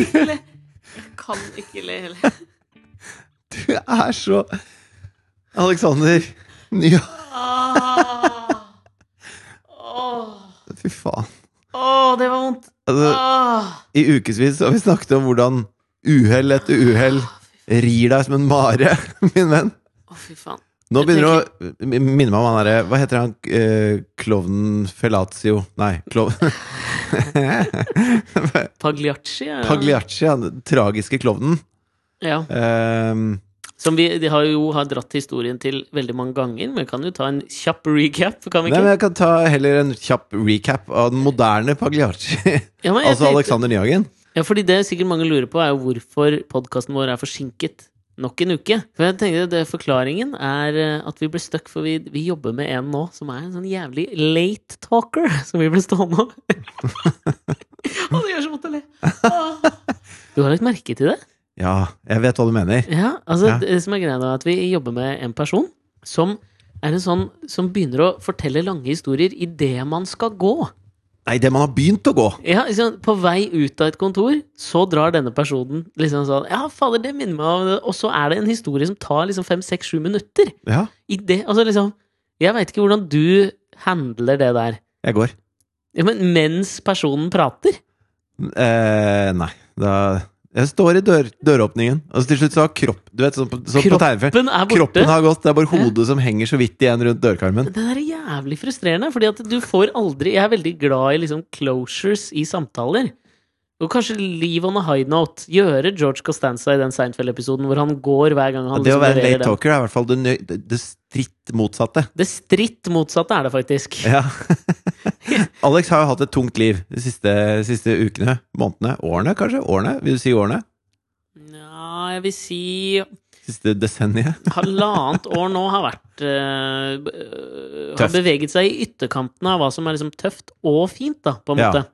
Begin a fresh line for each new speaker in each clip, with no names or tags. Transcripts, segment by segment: Ikke le. Jeg kan ikke le heller.
Du er så Alexander Nyha...
Åh. Åh.
Fy faen.
Åh, det var vondt.
Altså,
Åh.
I ukevis har vi snakket om hvordan uhell etter uhell rir deg som en mare, min venn.
Å, fy faen.
Nå begynner du å minne meg om han derre Hva heter han? Eh, Klovnen Felatio Nei, klov...
Pagliacci? ja.
Pagliacci, ja, den tragiske klovnen.
Ja.
Ehm,
Som vi de har jo har dratt historien til veldig mange ganger, men kan jo ta en kjapp recap? Kan vi
nei,
ikke?
men jeg kan ta heller en kjapp recap av den moderne Pagliacci.
ja, men jeg
altså
tenkte-
Alexander Nyhagen.
Ja, fordi det sikkert mange lurer på, er jo hvorfor podkasten vår er forsinket nok en uke. For jeg tenkte det Forklaringen er eh, at vi ble stuck, for vi, vi jobber med en nå som er en sånn jævlig late talker, som vi ble stående av. Å, det gjør så vondt å le! Åh. Du har lagt merke til det?
Ja, jeg vet hva du mener.
Ja, altså
Ja.
Det som er greia, da, er at vi jobber med en person som er en sånn som begynner å fortelle lange historier idet man skal gå.
Nei, det man har begynt å gå.
Ja, liksom, På vei ut av et kontor, så drar denne personen liksom sånn Ja, fader, det minner meg om det. Og så er det en historie som tar liksom fem, seks, sju minutter.
Ja,
I det, altså liksom Jeg veit ikke hvordan du handler det der.
jeg går.
Ja, men mens personen prater?
Eh, nei, da Jeg står i dør, døråpningen, og så til slutt så har kropp Du vet, sånn på, sånn på tegnefilm.
Kroppen er borte.
Kroppen har gått, det er bare hodet som henger så vidt igjen rundt dørkarmen.
Det der er jævlig frustrerende, fordi at du får aldri Jeg er veldig glad i liksom closures i samtaler. Og kanskje leave on a high note. Gjøre George Costanza i den Seinfeld-episoden hvor han går hver gang han
det å
liksom
være en
leverer
late
den.
talker er i hvert fall det, nøy- det, det stritt motsatte.
Det stritt motsatte er det faktisk.
Ja. Alex har jo hatt et tungt liv de siste, siste ukene, månedene, årene kanskje? Årene? Vil du si årene?
Ja, jeg vil si
Siste desenniet?
halvannet år nå har vært eh, b- øh, Har
Tøft.
beveget seg i ytterkantene av hva som er liksom tøft og fint, da, på en
Ja.
måte.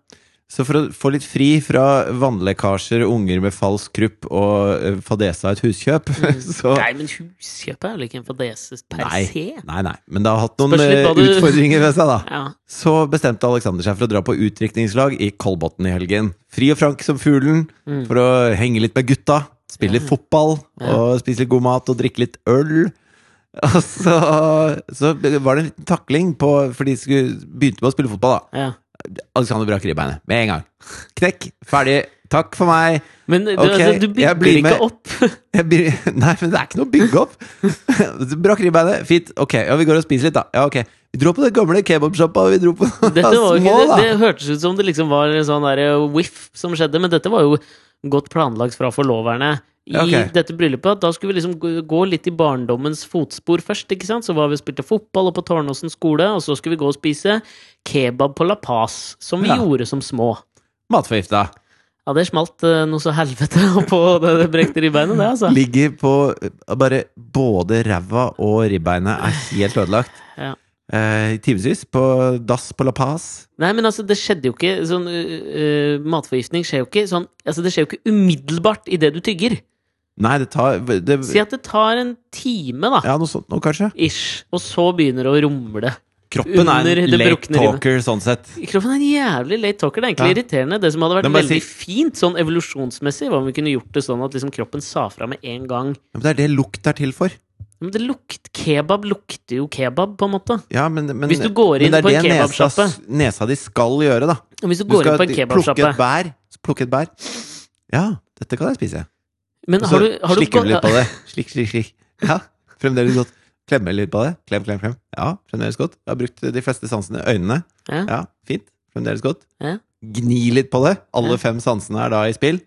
Så for å få litt fri fra vannlekkasjer, unger med falsk krupp og eh, fadesa et huskjøp,
Mm.
så
Nei, men huskjøp er vel ikke en fadese per
Nei.
se?
Nei, nei. Men det har hatt noen
Spørs litt
eh,
hva du-
utfordringer ved seg, da.
Ja.
Så bestemte Alexander seg for å dra på utdrikningslag i Kolbotn i helgen. Fri og frank som fuglen,
Mm.
for å henge litt med gutta. Spille litt fotball, og spise litt god mat og drikke litt øl. Og så, så var det en liten takling på For de skulle, begynte med å spille fotball, da.
ja.
Alexander brakk ribbeinet med en gang. Knekk, ferdig. Takk for meg.
Men du,
Ok,
altså, du
jeg
bygger
blir
ikke
med.
opp
Jeg blir, nei, men det er ikke noe å bygge opp. Du Brakk ribbeinet. Fint. Ok, ja, vi går og spiser litt, da. Ja, ok. Vi dro på den gamle kebabsjappa, og vi dro på
Dette var jo
små,
ikke, det,
da.
det hørtes ut som det liksom var en sånn der eh, whiff som skjedde, men dette var jo godt planlagt fra forloverne. I
Ok.
dette bryllupet at da skulle vi liksom gå- gå litt i barndommens fotspor først. ikke sant? Så var vi og spilte fotball oppe på Tårnåsen skole, og så skulle vi gå og spise kebab på La Paz, som vi
Ja.
gjorde som små.
Matforgifta.
Ja, det smalt eh, noe så helvete på det, det brekte ribbeinet, det, altså.
Ligger på eh, bare Både ræva og ribbeinet er helt ødelagt.
Ja.
Eh, I timevis. På dass på La Paz.
Nei, men altså, det skjedde jo ikke sånn øh, øh, Matforgiftning skjer jo ikke sånn Altså, det skjer jo ikke umiddelbart idet du tygger.
Nei, det tar det,
Si at det tar en time, da.
Ja, noe sånt noe, kanskje.
Ish. Og så begynner det å rumle.
Kroppen er
Under
en
det
late
brukne ribbeinet.
talker, sånn sett.
Kroppen er en jævlig late talker. Det er egentlig
Ja.
irriterende. Det som hadde vært
Den bare
veldig
sier-
fint sånn evolusjonsmessig, var om vi kunne gjort det sånn at liksom kroppen sa fra med en gang.
Ja, men det er det lukt er til for.
Men det lukt, kebab lukter jo kebab, på en måte.
Ja, men, men,
Hvis du går inn
men det er
på en
det nesa,
kebabsjappe.
nesa de skal gjøre, da.
Og hvis du,
Du
går
skal
inn på en
plukke
kebabsjappe
et bær. så Plukke et bær. Ja, dette kan jeg spise.
Men
Og så
har du, har du
slikker du
gå-
litt på det. Slikk, slikk, slikk. Ja, fremdeles godt. Klemme litt på det. Klem, klem, klem. Ja, fremdeles godt. Jeg har brukt de fleste sansene. Øynene.
Ja.
Ja, fint. Fremdeles godt.
Ja.
Gni litt på det.
Ja.
Alle fem sansene er da i spill.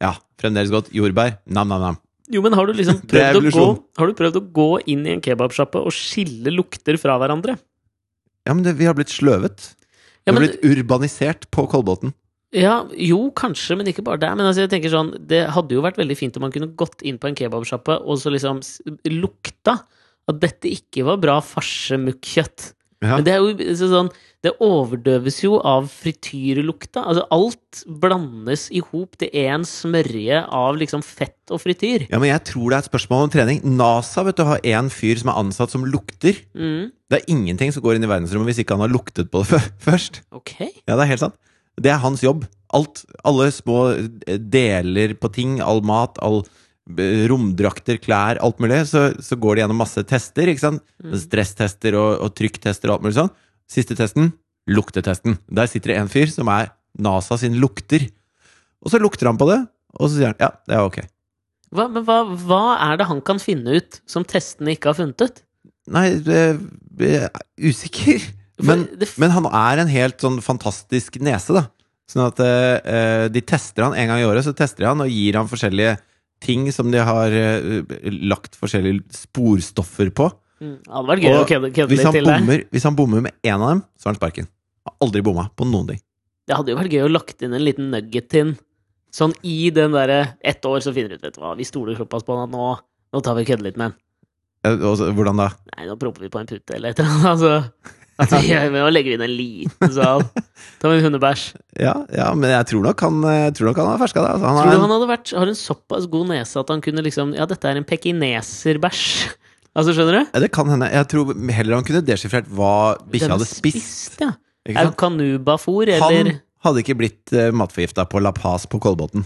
Ja, fremdeles godt. Jordbær. Nam, nam, nam.
Jo, men har du liksom
Det
prøvd
er
å, gå,
evolusjon.
har du prøvd å gå inn i en kebabsjappe og skille lukter fra hverandre?
Ja, men det, vi har blitt sløvet.
Ja,
Vi har
men,
blitt urbanisert på Kolbotn.
ja, jo, kanskje, men ikke bare der. Men altså, jeg tenker sånn, det hadde jo vært veldig fint om man kunne gått inn på en kebabsjappe og så liksom s- lukta at dette ikke var bra farse-mukk-kjøtt.
Ja.
Men det er jo så sånn Det overdøves jo av frityrlukta. Altså, alt blandes i hop til én smørje av liksom fett og frityr.
Ja, men jeg tror det er et spørsmål om trening. NASA vet du, har en fyr som er ansatt som lukter.
Mm,
Det er ingenting som går inn i verdensrommet hvis ikke han har luktet på det fø- først.
ok.
Ja, det er helt sant. Det er hans jobb. Alt, alle små eh, deler på ting, all mat, all eh, romdrakter, klær, alt mulig, så, så går det gjennom masse tester, ikke sant?
Mm.
Stresstester og, og trykktester og alt mulig sånn. Siste testen, luktetesten. Der sitter det en fyr som er NASA sin lukter. Og så lukter han på det, og så sier han, ja, det er ok.
Hva, men hva, hva er det han kan finne ut som testene ikke har funnet ut?
Nei, det, jeg er usikker.
For
Men,
det f-
men han er en helt sånn fantastisk nese, da. Sånn at eh, de tester han en gang i året, så tester de han og gir han forskjellige ting som de har eh, lagt forskjellige sporstoffer på.
Mm, det hadde vært gøy å
Og
kødde kødde
Hvis
litt
han,
til der.
bommer, hvis han bommer med én av dem, så har han sparken. Har aldri bomma på noen ting.
Det hadde jo vært gøy å lagt inn en liten nugget til. Sånn i den derre Ett år, så finner du ut vet du hva, vi stoler såpass på han at nå, nå tar vi og kødder litt med han.
Eh, og så- Hvordan da?
Nei, nå propper vi på en pute eller et eller annet. Altså, at vi, nå legger vi inn en liten sal. Tar vi en hundebæsj.
Ja, ja men jeg tror nok han, eh, tror nok han har ferska det. Altså, han
Tror du
er,
han hadde vært, har en såpass god nese at han kunne liksom Ja, dette er en pekineserbæsj. Altså, skjønner du?
Ja, det kan hende. Jeg tror heller han kunne desifrert hva bikkja
Den
hadde spist.
ja.
Ikke
Er
sant?
kanubafor,
Han
eller
hadde ikke blitt uh, matforgifta på La Paz på Kolbotn.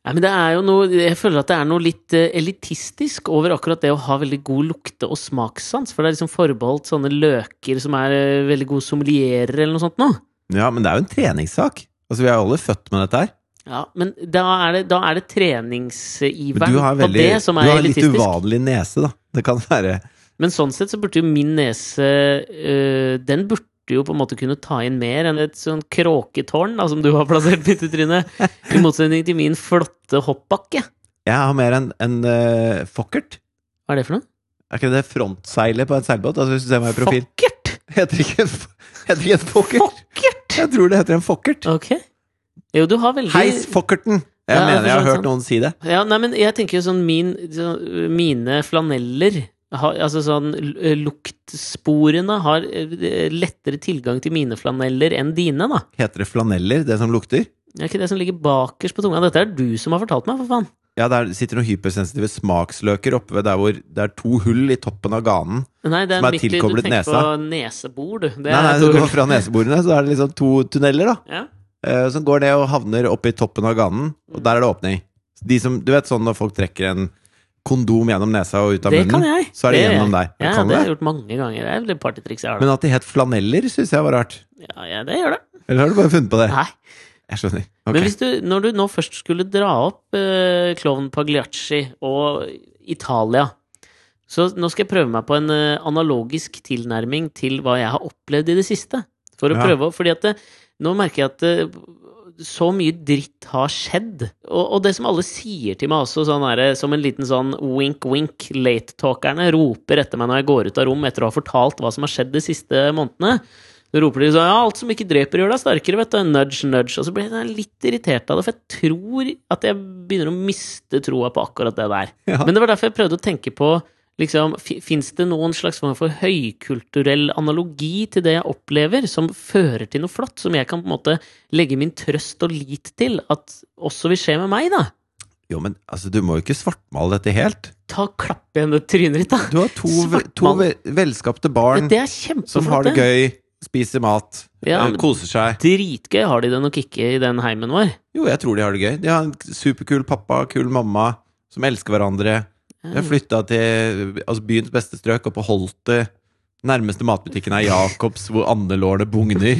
Nei, men det er jo noe Jeg føler at det er noe litt eh, elitistisk over akkurat det å ha veldig god lukte- og smakssans. For det er liksom forbeholdt sånne løker som er eh, veldig gode sommelierer, eller noe sånt noe.
Ja, men det er jo en treningssak. Altså, Vi er jo alle født med dette her.
Ja, men da er det, da er det
Men
treningsiveren
du har,
på
veldig,
det som
du
er
har en litt
elitistisk.
uvanlig nese, da. Det kan være
Men sånn sett så burde jo min nese øh, Den burde jo på en måte kunne ta inn mer enn et sånn kråketårn da, som du har plassert midt i trynet. I motsetning til min flotte hoppbakke.
Jeg har mer en, en eh, fokkert.
Hva er det for noe?
Er ikke det frontseilet på en seilbåt? Altså, hvis du ser meg i profil.
Fokkert!
Heter ikke, en f- heter ikke en fokkert?
Fokkert!
Jeg tror det heter en fokkert.
Ok. Jo, du har veldig
Heis fokkerten! Jeg
Ja,
mener jeg har
for
hørt
sånn.
noen si det.
Ja, nei, men jeg tenker jo sånn min, så- Mine flaneller har, Altså sånn l- Luktsporene har eh, lettere tilgang til mine flaneller enn dine, da.
Heter det flaneller, det som lukter?
Det er ikke det som ligger bakerst på tunga. Dette er du som har fortalt meg, for faen.
Ja, der sitter noen hypersensitive smaksløker oppe ved der hvor det er to hull i toppen av ganen.
Nei, det er
Som er
midt i-
tilkoblet
Du tenker på nesebor, du. Det
Nei, nei,
er
du går
Tor.
fra neseborene, så er det liksom to tunneler, da.
Ja.
eh, som går ned og havner oppe i toppen av ganen, og der er det åpning. De som, du vet sånn når folk trekker en kondom gjennom nesa og ut av
Det kan
munnen,
jeg.
så er det,
gjør
gjennom
jeg.
deg.
Ja,
kan
det
det.
har jeg gjort mange ganger. Det er vel et partytriks jeg har. da.
Men at de het flaneller, syns jeg var rart.
Ja, ja, det gjør det.
Eller har du bare funnet på det?
Nei.
Jeg skjønner. Ok.
Men hvis du, når du nå først skulle dra opp eh, klovn Pagliacci og Italia Så nå skal jeg prøve meg på en eh, analogisk tilnærming til hva jeg har opplevd i det siste. For å
Ja.
prøve å Fordi at det, nå merker jeg at det, så mye dritt har skjedd. Og, og det som alle sier til meg også, sånn her, som en liten sånn wink-wink, late-talkerne roper etter meg når jeg går ut av rom etter å ha fortalt hva som har skjedd de siste månedene. Så roper de sånn Ja, alt som ikke dreper, gjør deg sterkere, vet du. Nudge, nudge. Og så blir jeg litt irritert av det, for jeg tror at jeg begynner å miste troa på akkurat det der.
Ja.
Men det var derfor jeg prøvde å tenke på liksom, Fins det noen slags form for høykulturell analogi til det jeg opplever, som fører til noe flott, som jeg kan på en måte legge min trøst og lit til at også vil skje med meg, da?
Jo, men altså, du må jo ikke svartmale dette helt.
Ta og Klapp igjen det trynet ditt, da!
Du har to, ve- to ve- velskapte
Men
barn
det er
som har
kjempeflott.
det gøy, spiser mat,
Ja,
eh,
men-
koser seg.
Dritgøy har de det nok ikke i den heimen vår.
Jo, jeg tror de har det gøy. De har en superkul pappa, kul mamma, som elsker hverandre. De har flytta til altså, byens beste strøk, og på Holte. Nærmeste matbutikken er Jacobs, hvor andelårene bugner.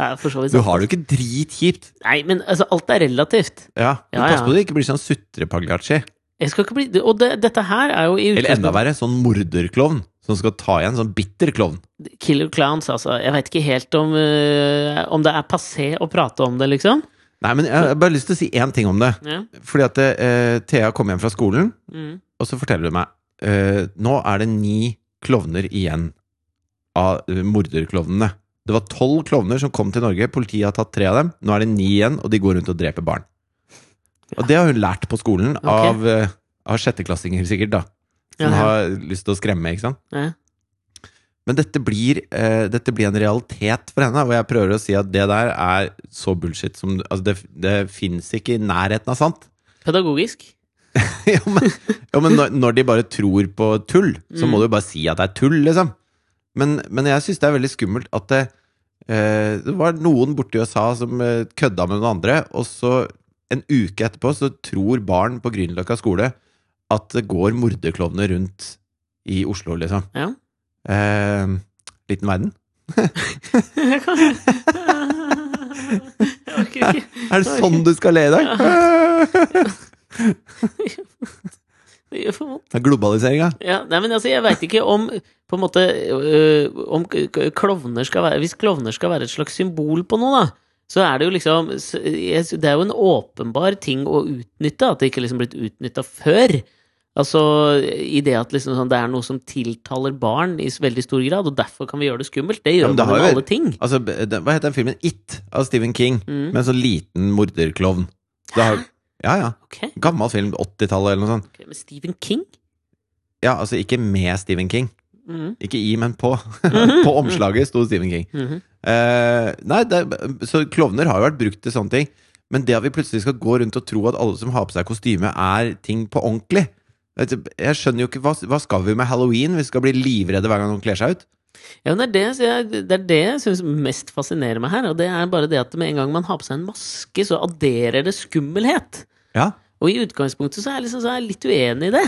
Ja, for så vidt.
Du har det jo ikke dritkjipt.
Nei, men altså, alt er relativt.
Ja, men
Ja,
pass
ja.
på du ikke blir sånn sutrepagliacci.
Jeg skal ikke bli Og det, dette her er jo i
Eller enda
utgangspunktet
verre, sånn morderklovn som skal ta igjen. Sånn bitter klovn.
Killer Clowns, altså. Jeg veit ikke helt om, eh, om det er passé å prate om det, liksom.
Nei, men jeg har bare lyst til å si én ting om det.
Ja.
Fordi at eh, Thea kom hjem fra skolen,
Mm.
og så forteller hun meg eh, Nå er det ni klovner igjen av eh, morderklovnene. Det var tolv klovner som kom til Norge. Politiet har tatt tre av dem. Nå er det ni igjen, og de går rundt og dreper barn. Og det har hun lært på skolen
Ok.
av, eh, av sjetteklassinger, sikkert, da. Som
Ja, ja.
har lyst til å skremme, ikke sant.
Ja.
Men dette blir, eh, dette blir en realitet for henne, og jeg prøver å si at det der er så bullshit som altså Det, det fins ikke i nærheten av sant.
Pedagogisk.
ja, men, ja, men når, når de bare tror på tull, så må du jo bare si at det er tull, liksom. Men, men jeg syns det er veldig skummelt at det, eh, det var noen borti USA som eh, kødda med noen andre, og så en uke etterpå så tror barn på Grünerløkka skole at det går morderklovner rundt i Oslo, liksom.
Ja.
Eh, liten verden.
Jeg kan- Jeg orker ikke.
Er det sånn du skal le i dag?
Det gjør for vondt.
Det er globaliseringa.
Ja, nei, men altså, jeg veit ikke om på en måte øh, om k- k- klovner skal være Hvis klovner skal være et slags symbol på noe, da, så er det jo liksom s- jeg sy- Det er jo en åpenbar ting å utnytte, at det ikke liksom blitt utnytta før. Altså i det at liksom sånn, det er noe som tiltaler barn i s- veldig stor grad, og derfor kan vi gjøre det skummelt. Det
Ja,
gjør
men
man
det
jo
har
med
jo-
alle ting.
Altså, den, hva heter den filmen? It av Stephen King,
Mm.
med en sånn liten morderklovn. Det har, ja, ja.
Ok,
Gammel film, 80-tallet eller noe sånt.
ok, Men Stephen King?
Ja, altså ikke med Stephen King.
Mhm,
Ikke i, men på. på omslaget sto Stephen King.
mhm.
Eh, nei, det, så klovner har jo vært brukt til sånne ting. Men det at vi plutselig skal gå rundt og tro at alle som har på seg kostyme, er ting på ordentlig Vet du, Jeg skjønner jo ikke Hva, hva skal vi med halloween? Vi skal bli livredde hver gang noen kler seg ut?
Ja, men det er det, så jeg- det er det jeg syns mest fascinerer meg her. Og det er bare det at med en gang man har på seg en maske, så adderer det skummelhet.
Ja
Og i utgangspunktet så er jeg, liksom, så er jeg litt uenig i det.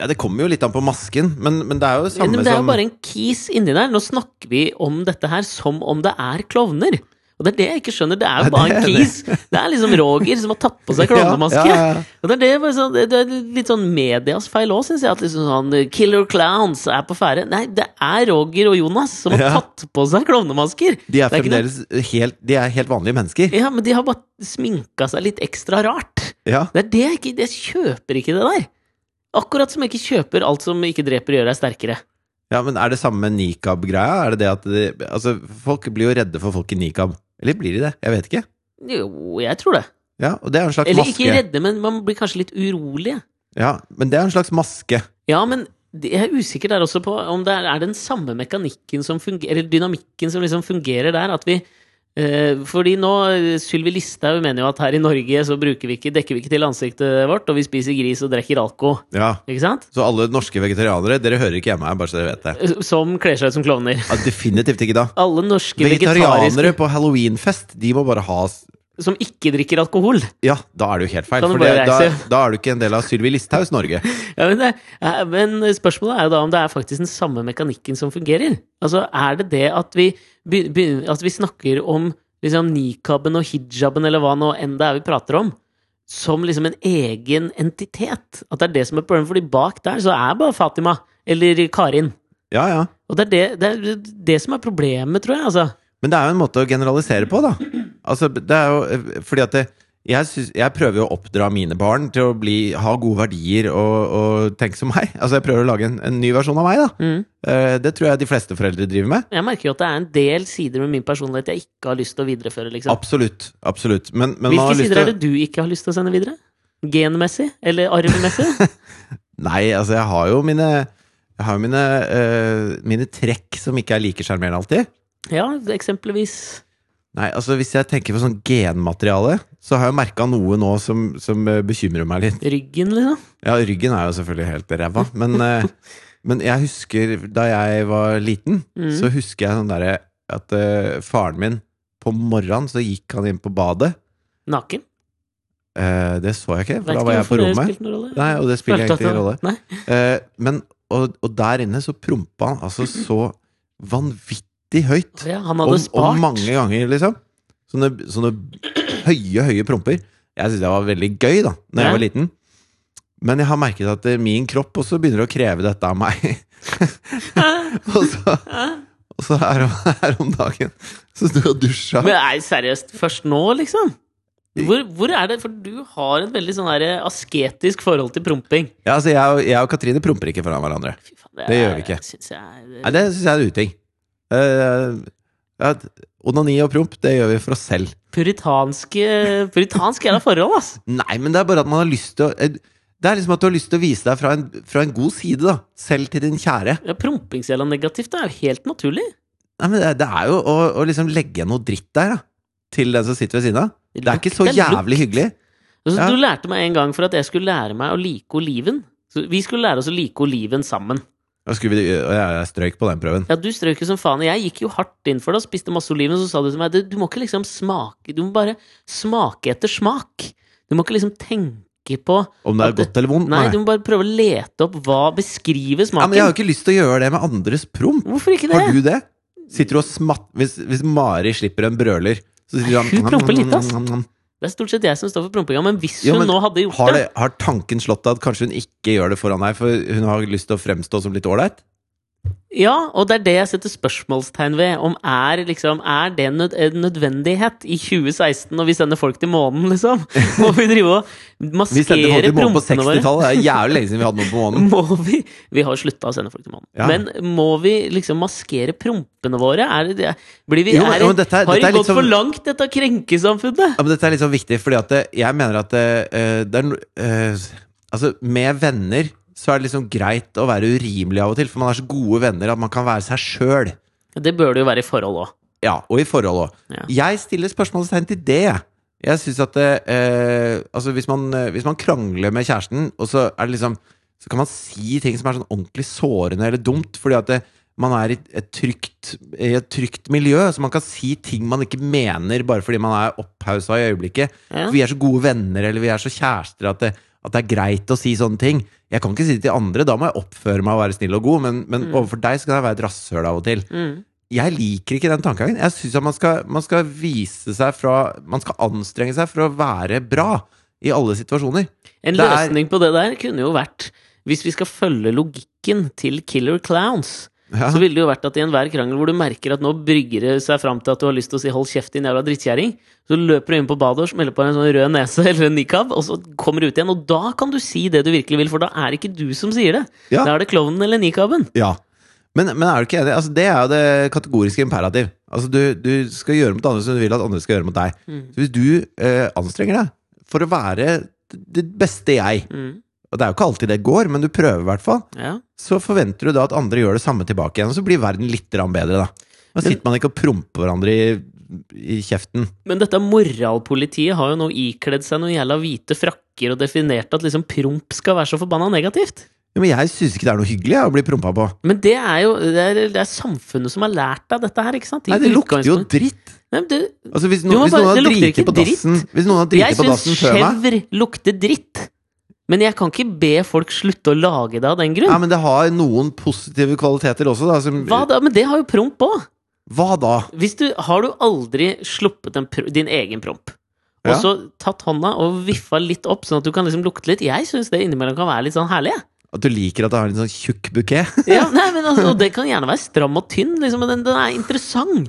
Ja, Det kommer jo litt an på masken, men, men det er jo det samme
Men det er jo
som
bare en kis inni der. Nå snakker vi om dette her som om det er klovner. Og det er det jeg ikke skjønner. Det er jo
Ja,
bare
det
en
er det.
kis. Det er liksom Roger som har tatt på seg klovnemaske.
Ja, ja, ja.
Og det er, det, bare sånn, det er litt sånn medias feil òg, syns jeg. At liksom sånn Killer Clowns er på ferde. Nei, det er Roger og Jonas som har
Ja.
tatt på seg klovnemasker.
De er
Det er ikke
fremdeles helt, de er helt vanlige mennesker.
Ja, men de har bare sminka seg litt ekstra rart.
Ja.
Det er det jeg ikke Jeg kjøper ikke det der. Akkurat som jeg ikke kjøper alt som ikke dreper, gjør deg sterkere.
ja, men er det samme med nikab-greia? Er det det at de, altså, Folk blir jo redde for folk i nikab. Eller blir de det? Jeg vet ikke.
Jo, jeg tror det.
Ja, og det er en slags
Eller
maske.
ikke redde, men man blir kanskje litt urolig.
Ja, men det er en slags maske.
Ja, men det- jeg er usikker der også på om det er, er den samme mekanikken som fungerer, eller dynamikken som liksom fungerer der, at vi eh, fordi nå, eh, Sylvi Listhaug mener jo at her i Norge så bruker vi ikke, dekker vi ikke til ansiktet vårt, og vi spiser gris og drikker alko.
Ja,
Ikke sant?
Så alle norske vegetarianere, dere hører ikke hjemme her, bare så dere vet det.
Eh, Som kler seg ut som klovner.
Ja, definitivt ikke da.
Alle norske
Vegetarianere
vegetariske
på halloweenfest, de må bare ha s-
som ikke drikker alkohol.
Ja, da er det jo helt feil.
Kan du
For
bare
det, da,
reise?
da er du ikke en del av Sylvi Listhaugs Norge.
Ja, men, det, eh, men spørsmålet er jo da om det er faktisk den samme mekanikken som fungerer. Altså, er det det at vi, be- be- at vi snakker om liksom, nikaben og hijaben, eller hva nå enn det er vi prater om, som liksom en egen entitet? At det er det som er problemet, fordi bak der så er bare Fatima eller Karin.
Ja, ja.
Og det er det, det, er det som er problemet, tror jeg, altså.
Men det er jo en måte å generalisere på, da. Altså, det er jo fordi at det, jeg, synes, jeg prøver jo å oppdra mine barn til å bli, ha gode verdier og, og tenke som meg. Altså, jeg prøver å lage en, en ny versjon av meg, da.
Mm.
Eh, Det tror jeg de fleste foreldre driver med.
Jeg merker jo at det er en del sider med min personlighet jeg ikke har lyst til å videreføre, liksom.
Absolutt. absolutt. Men, men man har
Hvilke
lyst
sider er
til å-
det du ikke har lyst til å sende videre? Genmessig? Eller arvmessig?
Nei, altså jeg har jo mine jeg har jo mine, eh, mine trekk som ikke er like sjarmerende alltid.
ja, eksempelvis.
Nei, altså Hvis jeg tenker på sånn genmateriale, så har jeg merka noe nå som, som eh, bekymrer meg litt.
Ryggen, liksom.
Ja, Ryggen er jo selvfølgelig helt ræva, men, eh, men jeg husker da jeg var liten,
Mm.
så husker jeg sånn derre at eh, faren min På morgenen så gikk han inn på badet.
Naken.
Eh, det så jeg ikke,
Vet
for da
ikke
var jeg på
hvorfor det
rommet.
spilte noen rolle.
Nei, og det spiller
Følte at
egentlig ingen rolle.
det- Nei.
Eh, men, og, og der inne så prompa han altså så vanvittig høyt.
Å Ja, han
Og,
hadde spart.
og mange ganger, liksom. Sånne, sånne høye, høye promper. Jeg syntes det var veldig gøy da Når
Ja.
jeg var liten. Men jeg har merket at eh, min kropp også begynner å kreve dette av meg. og, så, og så her, om- her om dagen så sto jeg og dusja.
Men nei, seriøst, først nå, liksom? Hvor, hvor er det For du har et veldig sånn der asketisk forhold til promping.
Ja, altså, jeg, og- jeg og Katrine promper ikke foran hverandre.
Fy faen,
Det gjør vi ikke.
Synes jeg,
Nei, Det syns jeg er en uting. Eh, ja, onani og promp, det gjør vi for oss selv.
Puritanske Puritansk er da forhold, ass!
Nei, men det er bare at man har lyst til å eh, Det er liksom at du har lyst til å vise deg fra en, fra en god side, da. Selv til din kjære.
Ja, Prompingsgjelda negativt det er jo helt naturlig.
Nei, men det, det er jo å, å liksom legge igjen noe dritt der, da. Til den som sitter ved siden av. Det er ikke så
lukter lukt.
jævlig hyggelig.
Altså,
Ja.
Du lærte meg en gang for at jeg skulle lære meg å like oliven. Så vi skulle lære oss å like oliven sammen.
Og skulle vi, og jeg, jeg strøyk på den prøven.
Ja, Du strøk jo som faen, og jeg gikk jo hardt inn for det og spiste masse oliven. Så sa du til meg du, du må ikke liksom smake Du må bare smake etter smak. Du må ikke liksom tenke på
Om det
At
er
det-
godt eller vondt.
Nei, du må bare prøve å lete opp hva beskriver
Ja,
smaken.
men jeg har jo ikke lyst til å gjøre det med andres promp.
Hvorfor ikke det?
Har du det? Sitter du og smatt Hvis, hvis Mari slipper en brøler så sitter
Nei, hun promper litt, ass.
Mm, mm, mm.
Det er stort sett jeg som står for prompinga, men hvis
Jo,
hun
men
nå hadde gjort
Har,
det,
det, har tanken slått deg at kanskje hun ikke gjør det foran deg, for hun har lyst til å fremstå som litt ålreit?
Ja, og det er det jeg setter spørsmålstegn ved. Om er, liksom, er det nød en nødvendighet i 2016 når vi sender folk til månen, liksom? Må vi drive og
Vi sendte
maskere
folk til månen på
prompene våre?
60-tallet. Det er jævlig lenge siden vi hadde noen på månen.
Må vi Vi har jo slutta å sende folk til månen.
Ja.
Men må vi liksom maskere prompene våre? Er det, det- blir vi,
Jo, men-
er,
jo, men dette er-
har
dette
vi
er litt sånn-
gått for
som-
langt, dette krenkesamfunnet?
Ja, men dette er litt sånn viktig, fordi at det, jeg mener at det, eh, det er no- eh, Altså, med venner så er det liksom greit å være urimelig av og til, for man er så gode venner at man kan være seg sjøl.
Det bør det jo være i forhold òg.
Ja, og i forhold òg. Jeg stiller spørsmålstegn til det, jeg. Jeg synes at det, eh, altså hvis, man, eh, hvis man krangler med kjæresten, og så er det liksom Så kan man si ting som er sånn ordentlig sårende eller dumt, fordi at det, man er i et trygt, i et trygt miljø, så man kan si ting man ikke mener bare fordi man er opphausa i øyeblikket.
Ja.
For vi er så gode venner eller vi er så kjærester at det, at det er greit å si sånne ting. Jeg kan ikke si det til andre, da må jeg oppføre meg og være snill og god, men, men overfor deg så kan jeg være et rasshøl av og til
Mm.
jeg liker ikke den tankegangen. Jeg syns at man skal, man skal vise seg fra Man skal anstrenge seg for å være bra i alle situasjoner.
En
Det er-
løsning på det der kunne jo vært Hvis vi skal følge logikken til Killer Clowns,
Ja.
så ville det jo vært at i enhver krangel hvor du merker at nå brygger det seg fram til at du har lyst til å si 'hold kjeft, din jævla drittkjerring', så løper du inn på badet og smeller på deg en sånn rød nese eller en nikab, og så kommer du ut igjen. Og da kan du si det du virkelig vil, for da er det ikke du som sier det.
Ja.
Da er det klovnen eller nikaben.
Ja. Men, men er du ikke enig? Altså, det er jo det kategoriske imperativ. Altså, du, du skal gjøre mot andre som du vil at andre skal gjøre mot deg.
Mm.
Så hvis du eh, anstrenger deg for å være det beste jeg,
Mm.
og det er jo ikke alltid det går, men du prøver i hvert fall,
Ja.
så forventer du da at andre gjør det samme tilbake igjen, og så blir verden litt grann bedre, da. Da sitter man ikke og promper hverandre i, i kjeften.
Men dette moralpolitiet har jo nå ikledd seg noen jævla hvite frakker og definert at liksom promp skal være så forbanna negativt.
Ja, men jeg syns ikke det er noe hyggelig jeg, å bli prompa på.
Men det er jo det er, det er samfunnet som har lært deg dette her, ikke sant? I
Nei, det lukter jo
utgangspunktet.
dritt.
Nei, men du,
Altså, hvis,
Du
no,
må
hvis
bare- det
noen har
lukter
driti
ikke
på dassen
dritt.
Hvis noen har
Jeg
driti på
syns
dassen før meg
skjevr lukter dritt. Men jeg kan ikke be folk slutte å lage det av den
ja,
grunn.
men det har noen positive kvaliteter også, da. Som,
Hva da? Men det har jo promp òg.
Hva da?
Hvis du, har du aldri sluppet en pr din egen promp, og
Ja.
så tatt hånda og viffa litt opp, sånn at du kan liksom lukte litt Jeg syns det innimellom kan være litt sånn herlig. jeg.
At du liker at det har en sånn tjukk bukett?
Ja, nei, men altså, og det kan gjerne være stram og tynn, liksom, men den, den er interessant.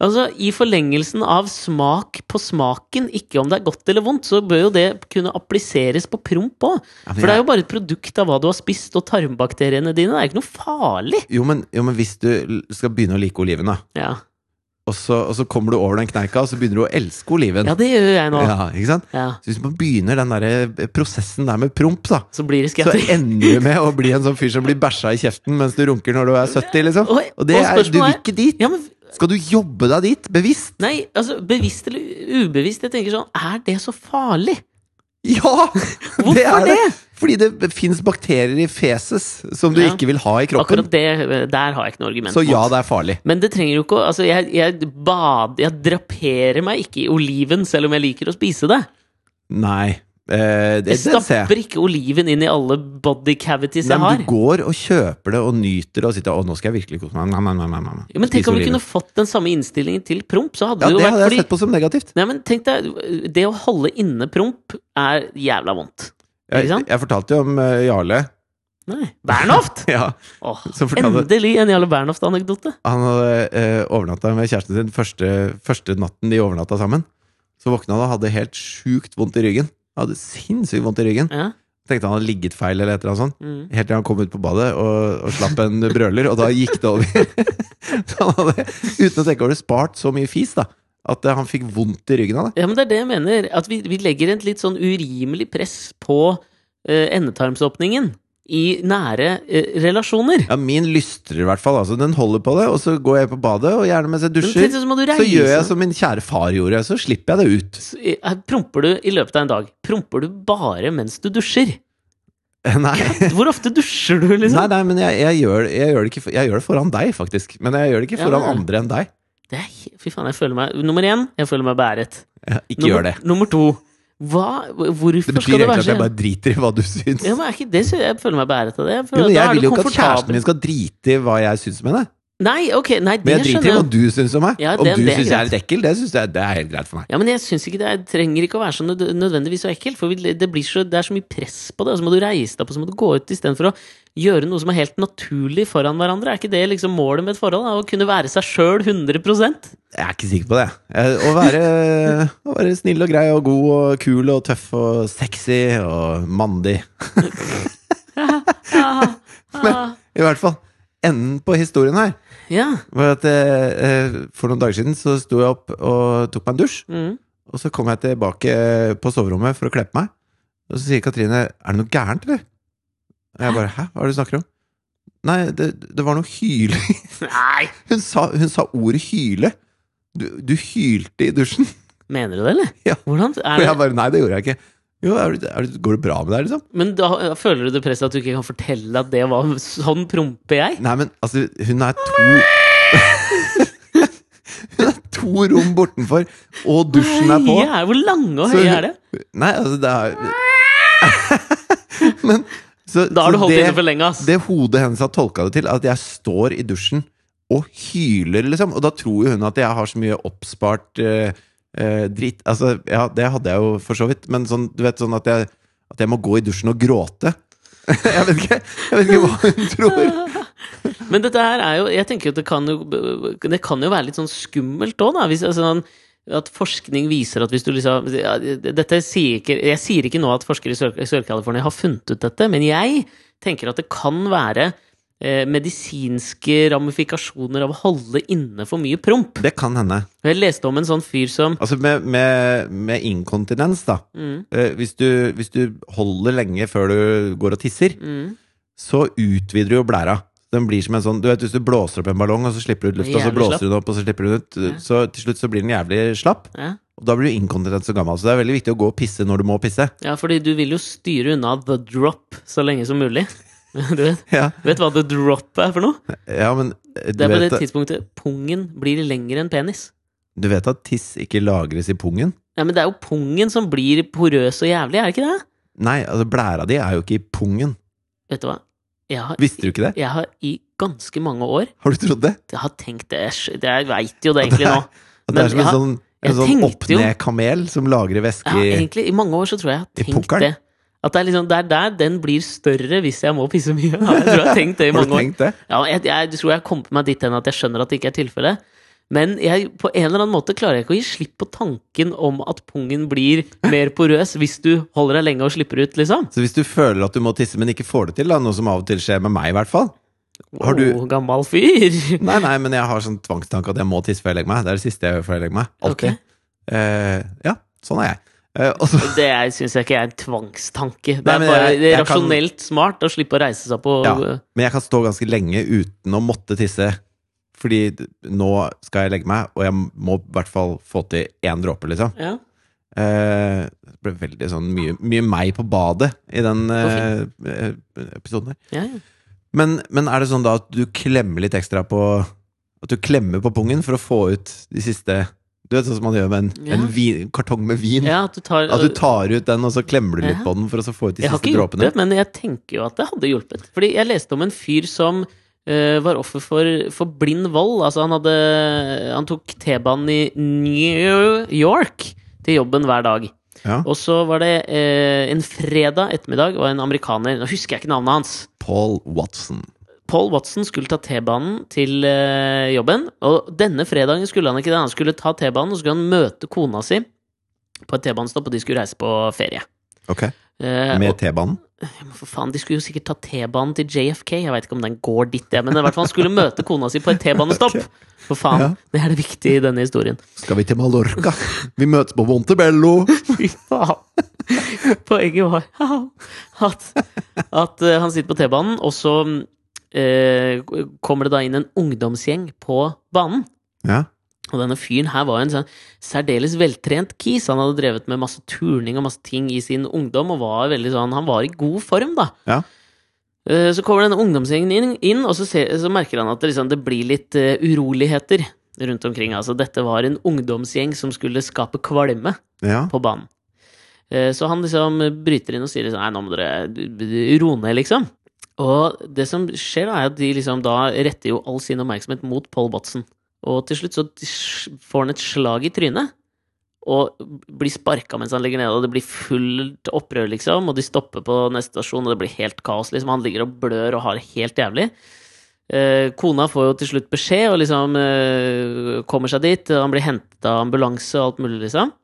Altså, I forlengelsen av smak på smaken, ikke om det er godt eller vondt, så bør jo det kunne appliseres på promp òg.
Ja, men
For det er
jeg,
jo bare et produkt av hva du har spist, og tarmbakteriene dine. Det er ikke noe farlig.
jo, men, jo, men hvis du l- skal begynne å like oliven, da,
Ja,
og så, og så kommer du over den kneika, og så begynner du å elske oliven
ja det gjør jeg nå.
Ja, ikke sant?
Ja.
Så hvis man begynner den der eh, prosessen der med promp, da,
Så blir det
så
skvetter.
ender du med å bli en sånn fyr som blir bæsja i kjeften mens du runker når du er 70, liksom.
Og-
Og det
og
er, du
spørsmålet
vil
er-
ikke dit.
Ja, men
Skal du jobbe deg dit, bevisst?
Nei, altså, bevisst eller ubevisst, jeg tenker sånn Er det så farlig?
Ja!
Hvorfor
det er det?
det?
Fordi det fins bakterier i feses som du
Ja.
ikke vil ha i kroppen.
Akkurat det, der har jeg ikke noe argument
Så ja,
mot.
det er farlig.
Men det trenger jo ikke å Altså, jeg, jeg bader Jeg draperer meg ikke i oliven, selv om jeg liker å spise det.
Nei. Eh, det,
Jeg
den ser jeg.
stapper ikke oliven inn i alle body cavities
Nei,
jeg
men
har.
du går og kjøper det og nyter det og sitter og 'Å, nå skal jeg virkelig kose meg'. Nam, nam, nam, nam, nam.
Jo, men tenk
Spise
om vi
oliven.
kunne fått den samme innstillingen til promp, så hadde
Ja,
det jo
det
vært
hadde jeg
fordi-
sett på som negativt.
Nei, men tenk deg, det å holde inne promp er jævla vondt. Ikke
Jeg,
sant?
jeg fortalte jo om eh, Jarle.
Nei. Bernhoft!
Ja,
Åh,
Som fortalte-
endelig en Jarle Bernhoft-anekdote.
han hadde eh, overnatta med kjæresten sin første, første natten de overnatta sammen. Så våkna han og hadde helt sjukt vondt i ryggen. Hadde sinnssykt vondt i ryggen.
Ja.
Tenkte han hadde ligget feil eller et eller annet sånt.
Mm.
Helt til han kom ut på badet og, og slapp en brøler, og da gikk det over. så han hadde, uten å tenke over det, spart så mye fis da at eh, han fikk vondt i ryggen av det.
ja, men det er det jeg mener. At vi, vi legger et litt sånn urimelig press på eh, endetarmsåpningen i nære eh, relasjoner.
Ja, min lystrer i hvert fall. Altså, den holder på det, og så går jeg på badet, og gjerne mens jeg
Men
dusjer.
tenk deg, så må du
Så gjør jeg
reise
som min kjære far gjorde, så slipper jeg det ut.
Så, eh, her Promper du i løpet av en dag? Promper du bare mens du dusjer?
Nei,
Hvor ofte dusjer du,
nei,
liksom?
nei men jeg, jeg, gjør, jeg, gjør det ikke, for- jeg gjør det foran deg, faktisk. Men jeg gjør det ikke
Ja,
foran
ja.
andre enn deg.
Det er, he- fy faen, jeg føler meg Nummer én, jeg føler meg bæret.
Ja, ikke
nummer,
gjør det.
Nummer to, hva, hvorfor
Det betyr
skal det
egentlig
være
at jeg
så
bare driter i hva du syns.
ja, men er ikke det, så Jeg føler meg bæret av det. Jeg, føler
Jo,
at
men
da
jeg
er du
vil jo ikke at
komfortabel.
kjæresten min skal drite i hva jeg syns om henne.
Nei, ok, nei, det
Men jeg
skjønner
driter i
jeg.
hva du syns om meg.
Ja,
om
det-
du
det er
syns jeg er
greit.
litt ekkel, det, synes jeg, det er helt greit for meg.
Ja, men jeg synes ikke det, det trenger ikke å være så nød nødvendigvis så ekkelt. For vi- det, blir så, det er så mye press på det, og så må du reise deg opp, og så må du gå ut istedenfor å gjøre noe som er helt naturlig foran hverandre. Er ikke det liksom målet med et forhold? Da? Å kunne være seg sjøl 100
Jeg er ikke sikker på det. Jeg, å, være, å være snill og grei og god og kul og tøff og sexy og mandig.
ah, ah.
I hvert fall enden på historien her
Ja.
var at eh, eh, for noen dager siden så sto jeg opp og tok meg en dusj.
Mm.
Og så kom jeg tilbake på soverommet for å kle på meg. Og så sier Katrine 'Er det noe gærent, eller?' Og jeg bare 'Hæ, hva er det du snakker om?' Nei, det, det var noe hyling.
Nei!
Hun sa, hun sa ordet 'hyle'. Du, du hylte i dusjen.
Mener du det, eller?
Ja.
Hvordan
Og jeg
er det?
bare 'Nei, det gjorde jeg ikke'. Jo, er du, er du, går det bra med deg, liksom?
Men da føler du det presset at du ikke kan fortelle at det var sånn promper jeg?
Nei, men altså, hun er to Hun er to rom bortenfor, og dusjen er på.
Høye er- Hvor lange og
Så
høye
hun-
er det?
Nei, altså, det er Men så,
Da har
så
du holdt
det-
inne for lenge, ass.
Det hodet hennes har tolka det til, at jeg står i dusjen og hyler, liksom. Og da tror jo hun at jeg har så mye oppspart eh, eh, dritt. Altså, ja, det hadde jeg jo for så vidt, men sånn, du vet sånn at jeg, at jeg må gå i dusjen og gråte. jeg, vet ikke, jeg vet ikke hva hun tror.
Men dette her er jo Jeg tenker jo at det kan jo Det kan jo være litt sånn skummelt òg, da. Hvis, altså, sånn, at forskning viser at hvis du liksom ja, dette sier ikke, Jeg sier ikke nå at forskere i Sør- i Sør-California har funnet ut dette, men jeg tenker at det kan være eh, medisinske ramifikasjoner av å holde inne for mye promp.
Det kan hende.
Jeg leste om en sånn fyr som
Altså med, med, med inkontinens, da.
mm,
Eh, hvis, du, hvis du holder lenge før du går og tisser,
mm,
så utvider du jo blæra. Den blir som en sånn, du vet Hvis du blåser opp en ballong, og så slipper du ut luft, og så
Jævlig slapp.
blåser du den opp, og så slipper du den ut,
Ja.
så til slutt så blir den jævlig slapp.
ja.
Og da blir du inkontinent som gammel. Så det er veldig viktig å gå og pisse når du må pisse.
ja, fordi du vil jo styre unna the drop så lenge som mulig. Du vet,
Ja,
du vet hva the drop er for noe?
ja men eh, du
Det er på
vet,
det tidspunktet pungen blir lengre enn penis.
du vet at tiss ikke lagres i pungen?
Nei, men det er jo pungen som blir porøs og jævlig, er det ikke det?
Nei, altså blæra di er jo ikke i pungen.
Vet du hva? Jeg har,
Visste du ikke det?
jeg har i ganske mange år
Har du trodd det?
Jeg har tenkt det, jeg, jeg veit jo det egentlig nå.
At det
Men
er som
jeg
en
har-
sånn,
jeg
en sånn
tenkte jo-
opp-ned-kamel som lagrer
Jeg har
væske i
egentlig, I mange år så tror jeg
I
jeg har tenkt
pukkelen?
det. At det er liksom, det er der den blir større hvis jeg må pisse mye. Ja, Jeg tror jeg har tenkt det i
Har du
mange år.
tenkt det?
Ja, jeg, jeg tror jeg kom på meg dit hen at jeg skjønner at det ikke er tilfellet. Men jeg, på en eller annen måte klarer jeg ikke å gi slipp på tanken om at pungen blir mer porøs hvis du holder deg lenge og slipper ut, liksom.
Så hvis du føler at du må tisse, men ikke får det til, da, noe som av og til skjer med meg, i hvert fall Har du-
Åh, gammal fyr!
Nei, nei, men jeg har sånn tvangstanke at jeg må tisse før jeg legger meg. Det er det siste jeg gjør før jeg legger meg. Alltid.
Ok.
Eh, ja, sånn er jeg. Eh, og så,
Det syns jeg ikke er en tvangstanke. Det
Nei,
er
men
bare
jeg-
det er
jeg kan-
rasjonelt smart å slippe å reise seg på
ja. Men jeg kan stå ganske lenge uten å måtte tisse. Fordi d- nå skal jeg legge meg, og jeg må i hvert fall få til én dråpe, liksom.
Ja.
Eh, det ble veldig sånn mye, mye meg på badet i den eh, eh, episoden her.
Ja, ja.
Men, men er det sånn da at du klemmer litt ekstra på At du klemmer på pungen for å få ut de siste Du vet sånn som man gjør med en,
Ja.
en vin, kartong med vin?
ja, at du tar
At du tar ut den, og så klemmer du litt
Ja.
på den for å så få ut de
Jeg har
siste
ikke gjort
dråpene?
det, men jeg tenker jo at det hadde hjulpet. Fordi jeg leste om en fyr som eh, var offer for, for blind vold. Altså, han hadde Han tok T-banen i New York til jobben hver dag.
Ja.
Og så var det eh, en fredag ettermiddag, og en amerikaner Nå husker jeg ikke navnet hans.
Paul Watson.
Paul Watson skulle ta T-banen til eh, jobben, og denne fredagen skulle han ikke det. Han skulle ta T-banen, og så skulle han møte kona si på et T-banestopp, og de skulle reise på ferie.
Ok,
Eh,
Med T-banen.
og, for faen, de skulle jo sikkert ta T-banen til JFK, jeg veit ikke om den går dit, jeg, men i hvert fall han skulle møte kona si på et T-banestopp. For faen,
Ja.
det er det viktige i denne historien.
Skal vi til Mallorca? Vi møtes på Montebello!
Fy faen. Poenget var at, at eh, han sitter på T-banen, og så eh, kommer det da inn en ungdomsgjeng på banen.
Ja.
Og denne fyren her var en sånn særdeles veltrent kis. Han hadde drevet med masse turning og masse ting i sin ungdom, og var veldig sånn Han var i god form, da.
Ja.
Eh, Så kommer denne ungdomsgjengen inn, inn og så, ser, så merker han at det, liksom, det blir litt eh, uroligheter rundt omkring. Altså, dette var en ungdomsgjeng som skulle skape kvalme
ja.
på banen. Eh, Så han liksom bryter inn og sier liksom, Nei, nå må dere d- d- roe ned, liksom. Og det som skjer, da, er at de liksom da retter jo all sin oppmerksomhet mot Paul Watson. Og til slutt så s- får han et slag i trynet. Og blir sparka mens han ligger nede, og det blir fullt opprør, liksom. Og de stopper på neste stasjon, og det blir helt kaos, liksom. Han ligger og blør og har det helt jævlig. Eh, kona får jo til slutt beskjed, og liksom eh, kommer seg dit. Han blir hentet av ambulanse og alt mulig, liksom.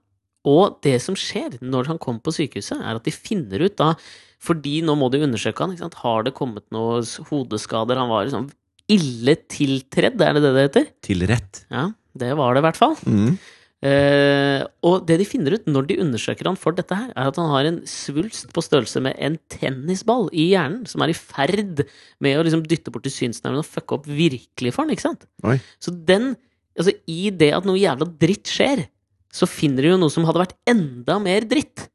Og det som skjer når han kommer på sykehuset, er at de finner ut da Fordi nå må de undersøke han. Ikke sant? Har det kommet noen s- hodeskader? Han var liksom ille tiltredd, er det det det heter?
Til rett.
Ja, det var det i hvert fall.
Mm.
Eh, og det de finner ut når de undersøker han for dette her, er at han har en svulst på størrelse med en tennisball i hjernen, som er i ferd med å liksom dytte bort til synsnerven og fucke opp virkelig for han, ikke sant?
Oi.
Så den Altså, i det at noe jævla dritt skjer, så finner de jo noe som hadde vært enda mer dritt.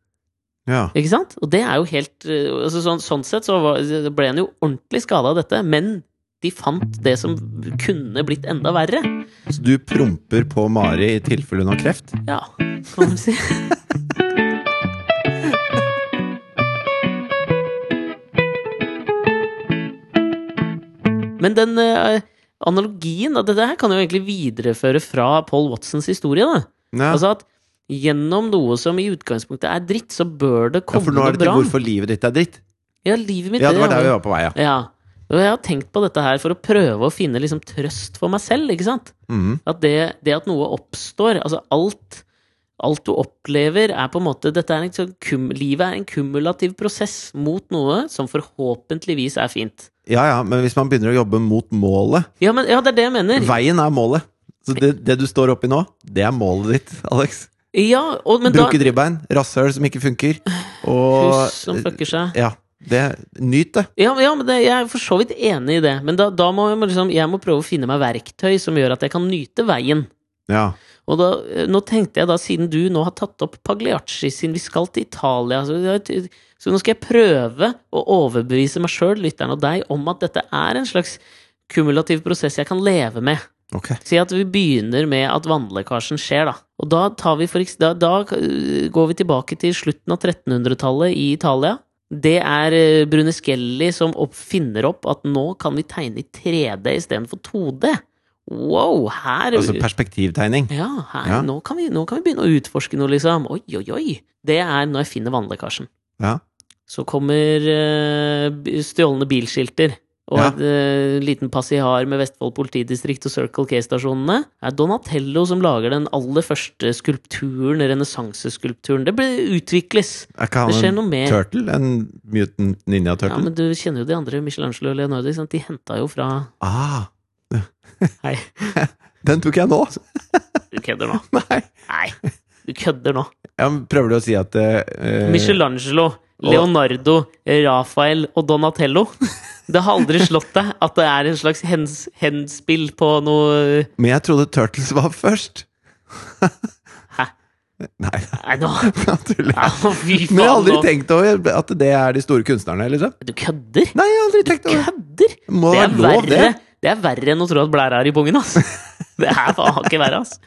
Ja.
Ikke sant? Og det er jo helt eh, altså sånn, sånn sett så var, ble han jo ordentlig skada av dette, men de fant det som kunne blitt enda verre.
Så du promper på Mari i tilfelle hun har kreft?
Ja, kan man si. Men den eh, analogien da, Dette her kan jo egentlig videreføre fra Paul Watsons historie. da.
Ja.
Altså at gjennom noe som i utgangspunktet er dritt, så bør det
ja,
komme
for nå er det
noe
til
bra.
hvorfor livet ditt er dritt.
Ja, livet mitt
Ja, det var der vi
ja.
var på vei, ja.
ja. Og jeg har tenkt på dette her for å prøve å finne liksom, trøst for meg selv, ikke sant?
Mhm.
At det, det at noe oppstår Altså alt Alt du opplever er på en måte dette er en sånn kum, Livet er en kumulativ prosess mot noe som forhåpentligvis er fint.
Ja, ja, men hvis man begynner å jobbe mot målet
Ja, men, ja det er det jeg mener.
Veien er målet. Så det, det du står oppi nå, det er målet ditt, Alex.
Ja, og, men
Bruke drivbein, rasshøl som ikke funker,
da
og
Hus som fucker seg.
Ja. Det, nyt det.
Ja, men- ja men det, jeg er for så vidt enig i det. Men da, da må jeg, må liksom, jeg må prøve å finne meg verktøy som gjør at jeg kan nyte veien.
Ja.
Og da, eh, nå tenkte jeg da, siden du nå har tatt opp Pagliacci, siden vi skal til Italia Så, så nå skal jeg prøve å overbevise meg sjøl, lytteren og deg, om at dette er en slags kumulativ prosess jeg kan leve med.
Ok.
Si at vi begynner med at vannlekkasjen skjer, da. Og da, tar vi for, eks- da, da øh, går vi tilbake til slutten av 1300-tallet i Italia. Det er øh, Bruneskjelli som opp, finner opp at nå kan vi tegne i 3D istedenfor 2D. Wow, her
Altså perspektivtegning.
ja, her,
Ja.
Nå, kan vi, nå kan vi begynne å utforske noe, liksom. Oi, oi, oi. Det er når jeg finner vannlekkasjen.
Ja.
Så kommer eh, b- stjålne bilskilter. Og
Ja.
en liten passihar med Vestfold politidistrikt og Circle K-stasjonene. Det er Donatello som lager den aller første skulpturen, renessanseskulpturen. Det ble, utvikles.
Er ikke
Det skjer
han
noe
en
mer.
turtle? En mutant ninja
Ja,
turtle?
men du kjenner jo de andre, Michelangelo og Leonardo. Ikke sant? De henta jo fra
Ah,
Hei,
den tok jeg nå!
du kødder nå.
Nei.
Nei, du kødder nå.
Ja, men prøver du å si at eh,
Michelangelo, Leonardo, Rafael og Donatello. Det har aldri slått deg at det er en slags hens, henspill på noe
Men jeg trodde turtles var først!
Hæ?
Nei,
Nei, nå
da tuller
ja,
jeg.
Fy
Men jeg har
faen,
aldri
nå.
tenkt over at det er de store kunstnerne, liksom.
Du kødder?
Nei, jeg har aldri tenkt over det.
Kødder?
Må
Det
være
er,
lov, det.
verre, det er verre enn å tro at blæra er i pungen, ass. Det er faen ikke verre, ass.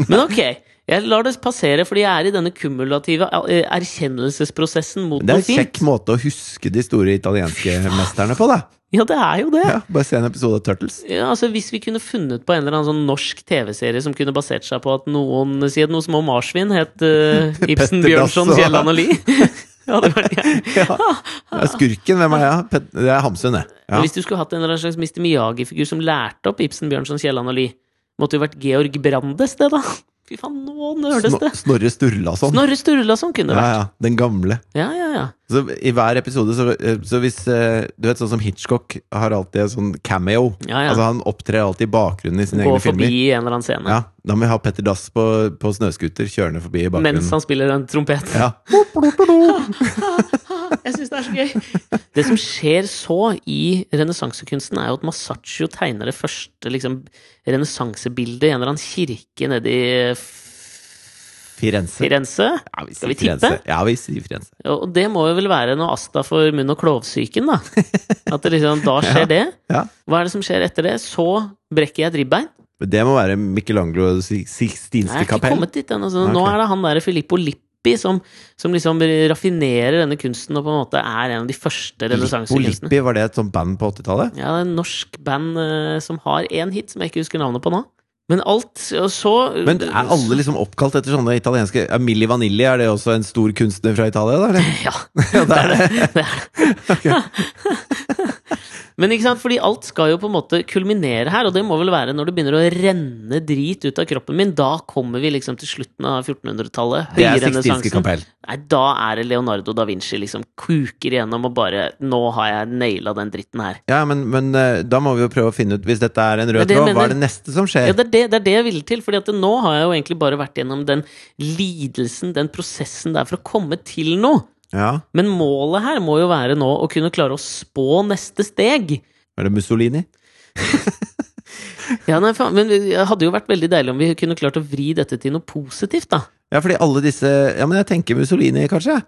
Men ok, jeg lar det passere, fordi jeg er i denne kumulative eh, erkjennelsesprosessen mot
Det
noe
er en kjekk
fint.
måte å huske de store italienske mesterne på, da.
Ja, det er jo det.
Ja, bare se en episode av Turtles.
Ja, altså Hvis vi kunne funnet på en eller annen sånn norsk TV-serie som kunne basert seg på at noen Si at noen små marsvin het eh, Ibsen,
Petter Dass
Bjørnson,
og-
Kielland og Lie. ja, det var det.
Ja. Det er Skurken, hvem er jeg? Pet- Det er Hamsun, det. Ja.
Hvis du skulle hatt en eller annen slags Mr. Miyagi-figur som lærte opp Ibsen, Bjørnson, Kielland og Lie, måtte jo vært Georg Brandes, det, da. Fy faen, nå nøles
Sno-
det.
Snorre Sturlason.
Snorre Sturlason kunne det
Ja,
vært.
ja. Den gamle.
Ja, ja, ja.
Så I hver episode, så, så hvis eh, Du vet sånn som Hitchcock har alltid en sånn cameo.
Ja, ja.
Altså Han opptrer alltid i bakgrunnen i sine
Gå
egne
forbi
filmer.
en eller annen scene.
Ja, Da må vi ha Petter Dass på, på snøscooter kjørende forbi i bakgrunnen.
Mens han spiller en trompet.
Ja.
Jeg syns det er så gøy! Det som skjer så i renessansekunsten, er jo at Masaccio tegner det første liksom, renessansebildet i en eller annen kirke nede i F-
Firenze.
Firenze.
Ja, vi
Skal vi
sier
tippe?
Firenze. Ja, vi sier Firenze.
Og det må jo vel være noe Asta for munn- og klovsyken, da. At det liksom, da skjer det.
Ja.
Hva er det som skjer etter det? Så brekker jeg et ribbein.
Men det må være Michelangelo og Si-
Jeg
Sixtinske
er ikke
kapell.
kommet dit ennå. så
Nei,
Nå
ok.
er det han der Filippo Lippi som, som liksom raffinerer denne kunsten og på en måte er en av de første
Lippo
renessansekunstnerne.
Lippi, var det et sånt band på 80-tallet?
Ja, det er en norsk band eh, som har én hit som jeg ikke husker navnet på nå. Men alt Og så
Men er alle liksom oppkalt etter sånne italienske ja, Milli Vanilli, er det også en stor kunstner fra Italia, da? Eller?
Ja. Det er det. det, er det. Men ikke sant, fordi alt skal jo på en måte kulminere her, og det må vel være når det begynner å renne drit ut av kroppen min. Da kommer vi liksom til slutten av 1400-tallet.
Det er Sixtinske
høyrenessansen.
kapell.
Nei, da er det Leonardo da Vinci liksom kuker igjennom og bare Nå har jeg naila den dritten her.
Ja, men, men eh, da må vi jo prøve å finne ut Hvis dette er en
Men
rød
det
tråd,
mener-
hva er det neste som
Ja,
skjer?
det, er det, det er det jeg ville til, Fordi at nå har jeg jo egentlig bare vært gjennom den lidelsen, den prosessen det er for å komme til noe.
Ja,
Men målet her må jo være nå å kunne klare å spå neste steg.
Er det Mussolini?
Ja, nei, faen, men det hadde jo vært veldig deilig om vi kunne klart å vri dette til noe positivt, da.
Ja, fordi alle disse Ja, men jeg tenker Mussolini, kanskje.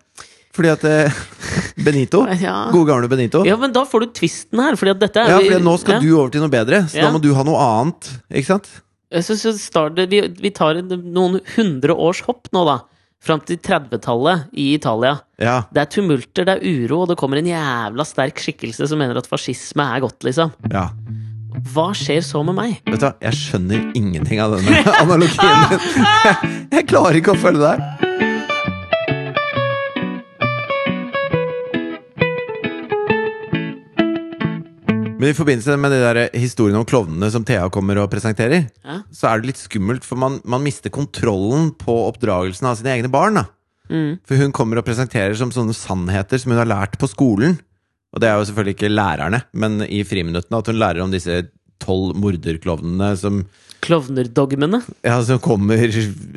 Fordi at eh, Benito.
Ja.
Gode gamle Benito.
ja, men da får du twisten her, fordi at dette er
Ja, fordi nå skal du over til noe bedre, så
Ja.
da må du ha noe annet. Ikke sant?
Jeg synes jo start, vi, vi tar en- noen hundre års hopp nå, da. Fram til 30-tallet i Italia.
Ja.
Det er tumulter, det er uro, og det kommer en jævla sterk skikkelse som mener at fascisme er godt, liksom.
ja.
Hva skjer så med meg?
Vet du hva, jeg skjønner ingenting av denne analogien din. Jeg klarer ikke å følge deg. Men i forbindelse med de der historiene om klovnene som Thea kommer og presenterer,
Ja.
så er det litt skummelt, for man, man mister kontrollen på oppdragelsen av sine egne barn. Da.
Mm.
For hun kommer og presenterer som sånne sannheter som hun har lært på skolen. Og det er jo selvfølgelig ikke lærerne, men i friminuttene at hun lærer om disse tolv morderklovnene som,
Klovnerdogmene.
ja, som kommer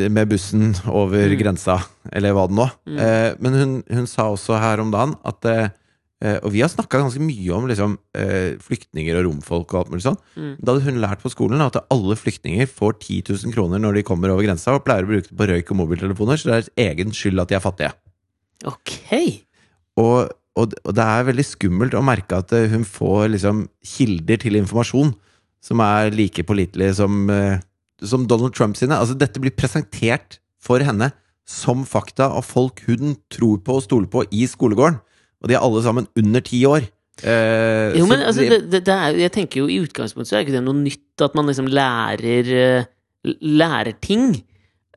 med bussen over grensa, eller hva det nå. Eh, men hun, hun sa også her om dagen at eh, eh, Og vi har snakka ganske mye om liksom, eh, flyktninger og romfolk og alt mulig sånn. Da hadde hun lært på skolen at alle flyktninger får 10 000 kroner når de kommer over grensa, og pleier å bruke det på røyk og mobiltelefoner, så det er deres egen skyld at de er fattige.
Ok!
Og, og, og det er veldig skummelt å merke at eh, hun får liksom kilder til informasjon som er like pålitelige som, eh, som Donald Trump sine. Altså, dette blir presentert for henne som fakta av folk hun tror på og stoler på i skolegården. Og de er alle sammen under ti år. Eh,
Jo,
så
men altså,
de-
det, det, det er, jeg tenker jo i utgangspunktet så er ikke det noe nytt at man liksom lærer eh, Lærer ting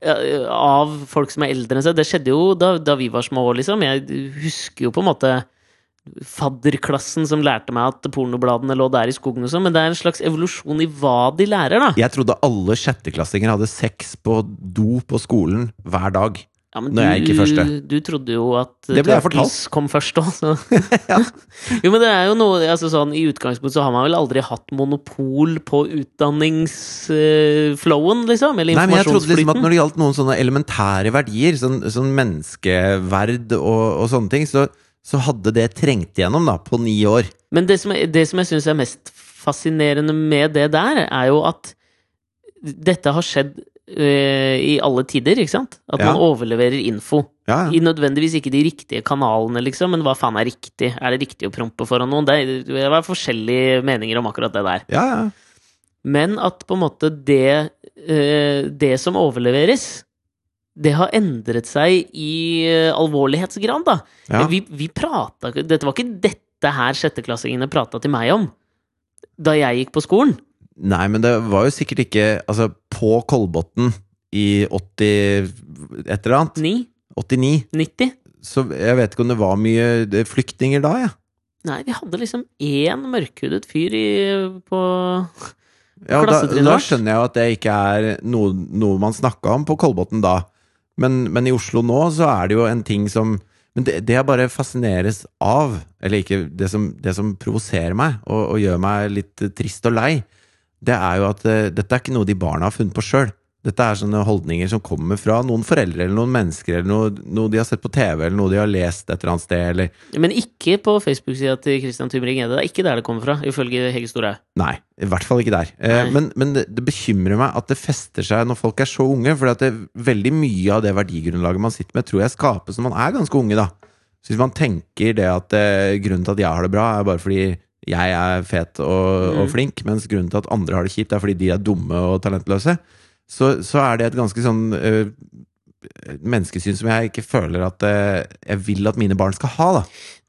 eh, av folk som er eldre enn seg. Det skjedde jo da, da vi var små, liksom. Jeg husker jo på en måte fadderklassen som lærte meg at pornobladene lå der i skogen og sånn, men det er en slags evolusjon i hva de lærer, da.
Jeg trodde alle sjetteklassinger hadde sex på do på skolen hver dag.
Ja, men
Nå er jeg ikke første.
Du trodde jo at
Det ble jeg
Turtles kom først òg, så Jo, men det er jo noe altså sånn, I utgangspunktet så har man vel aldri hatt monopol på utdanningsflowen, liksom? Eller
Nei, men jeg trodde liksom at
informasjonsflyten?
når det gjaldt noen sånne elementære verdier, sånn, sånn menneskeverd og, og sånne ting, så, så hadde det trengt igjennom da, på ni år.
Men det som, jeg- det som jeg syns er mest fascinerende med det der, er jo at dette har skjedd eh, i alle tider, ikke sant? At
Ja.
man overleverer info.
Ja,
I nødvendigvis ikke de riktige kanalene, liksom, men hva faen er riktig? Er det riktig å prompe foran noen? Det er- det var forskjellige meninger om akkurat det der.
ja.
Men at på en måte det, eh, det som overleveres, det har endret seg i eh, alvorlighetsgrad, da.
Ja.
Vi, vi prata ikke- Dette var ikke dette her sjetteklassingene prata til meg om da jeg gikk på skolen.
Nei, men det var jo sikkert ikke Altså, på Kolbotn i 80 et eller annet,
9?
89,
90?
så jeg vet ikke om det var mye det- flyktninger da, jeg.
Nei, vi hadde liksom én mørkhudet fyr i, på
Ja, og da,
Klassetrinnet
da
vårt.
skjønner jeg jo at det ikke er noe, noe man snakka om på Kolbotn da. Men, men i Oslo nå så er det jo en ting som Men det, det jeg bare fascineres av, eller ikke Det som, det som provoserer meg og, og gjør meg litt eh, trist og lei, det er jo at eh, dette er ikke noe de barna har funnet på sjøl. Dette er sånne holdninger som kommer fra noen foreldre eller noen mennesker, eller noe, noe de har sett på TV, eller noe de har lest et eller annet sted, eller
Men ikke på Facebook-sida til Christian Tybring-Gjedde. Det er ikke der det kommer fra, ifølge Hege Storhaug.
Nei, i hvert fall ikke der. Eh,
Nei.
men men det, det bekymrer meg at det fester seg når folk er så unge. For veldig mye av det verdigrunnlaget man sitter med, tror jeg skapes når man er ganske unge. da. Så hvis man tenker det at eh, grunnen til at jeg har det bra, er bare fordi jeg er fet og, og
Mm.
flink, mens grunnen til at andre har det kjipt, er fordi de er dumme og talentløse, så, så er det et ganske sånn eh, menneskesyn som jeg ikke føler at eh, jeg vil at mine barn skal ha. da.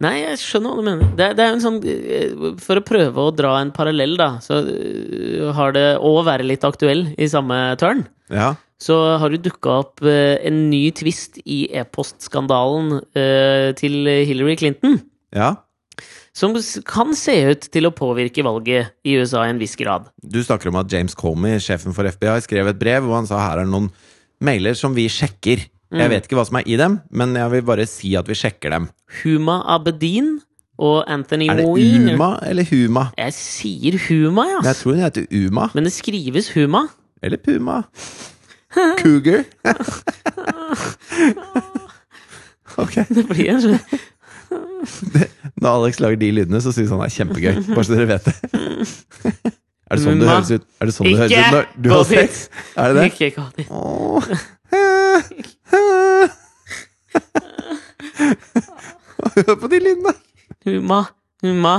Nei, jeg skjønner hva du mener. Det, det er jo en sånn eh, For å prøve å dra en parallell, da, så eh, har det Å være litt aktuell i samme tørn.
Ja,
Så har det dukka opp eh, en ny twist i e-postskandalen eh, til Hillary Clinton.
ja.
Som s- kan se ut til å påvirke valget i USA i en viss grad.
Du snakker om at James Comey, sjefen for FBI, skrev et brev hvor han sa her er noen mailer som vi sjekker.
Mm.
Jeg vet ikke hva som er i dem, men jeg vil bare si at vi sjekker dem.
Huma Abedin og Anthony
Er det
Moine.
Uma eller Huma?
Jeg sier Huma, ja.
Men jeg tror hun heter Uma
Men det skrives Huma.
eller Puma. Cougar. ok.
Det blir en sånn
Når Alex lager de lydene, så syns han det er kjempegøy. Bare så dere vet det. Er det sånn det
Uma.
høres ut? Er det sånn det høres
Ikke
ut når du har
gå dit!
sex? Er det det?
Ikke gå dit.
Åh. Hør på de lydene!
Huma, Huma.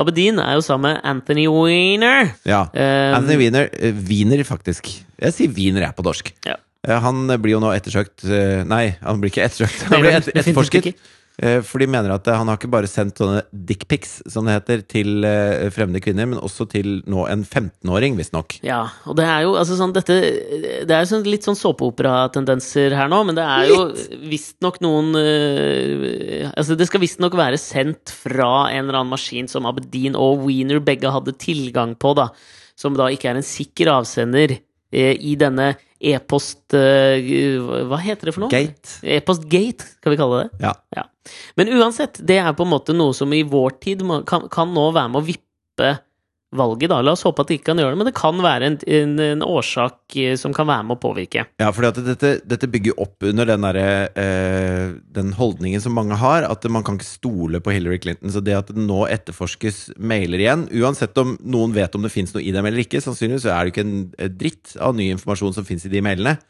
Abedin er jo sammen med Anthony Weiner.
Ja.
Eh,
Anthony Wiener, eh, Wiener faktisk. Jeg sier Wiener jeg på norsk.
Ja.
Eh, Han blir jo nå ettersøkt eh, Nei, han blir ikke ettersøkt. Han blir et,
definitivt
etterforsket.
ikke.
Eh, For de mener at eh, han har ikke bare sendt sånne dickpics, som det heter, til eh, fremmede kvinner, men også til nå en 15-åring, visstnok.
Ja, og det er jo altså sånn dette Det er jo sånn, litt sånn såpeoperatendenser her nå, men det er jo visstnok noen øh, Altså, det skal visstnok være sendt fra en eller annen maskin som Abedin og Wiener begge hadde tilgang på, da. Som da ikke er en sikker avsender eh, i denne e-post eh, Hva heter det for noe?
Gate.
E-postgate, skal vi kalle det.
Ja.
Ja. Men uansett, det er på en måte noe som i vår tid må- kan, kan nå være med å vippe valget, da. La oss håpe at det ikke kan gjøre det, men det kan være en, en, en årsak eh, som kan være med å påvirke.
Ja, fordi at dette, dette bygger opp under den, derre, eh, den holdningen som mange har, at man kan ikke stole på Hillary Clinton. Så det at det nå etterforskes mailer igjen, uansett om noen vet om det fins noe i dem eller ikke, sannsynligvis så er det ikke en eh, dritt av ny informasjon som fins i de mailene.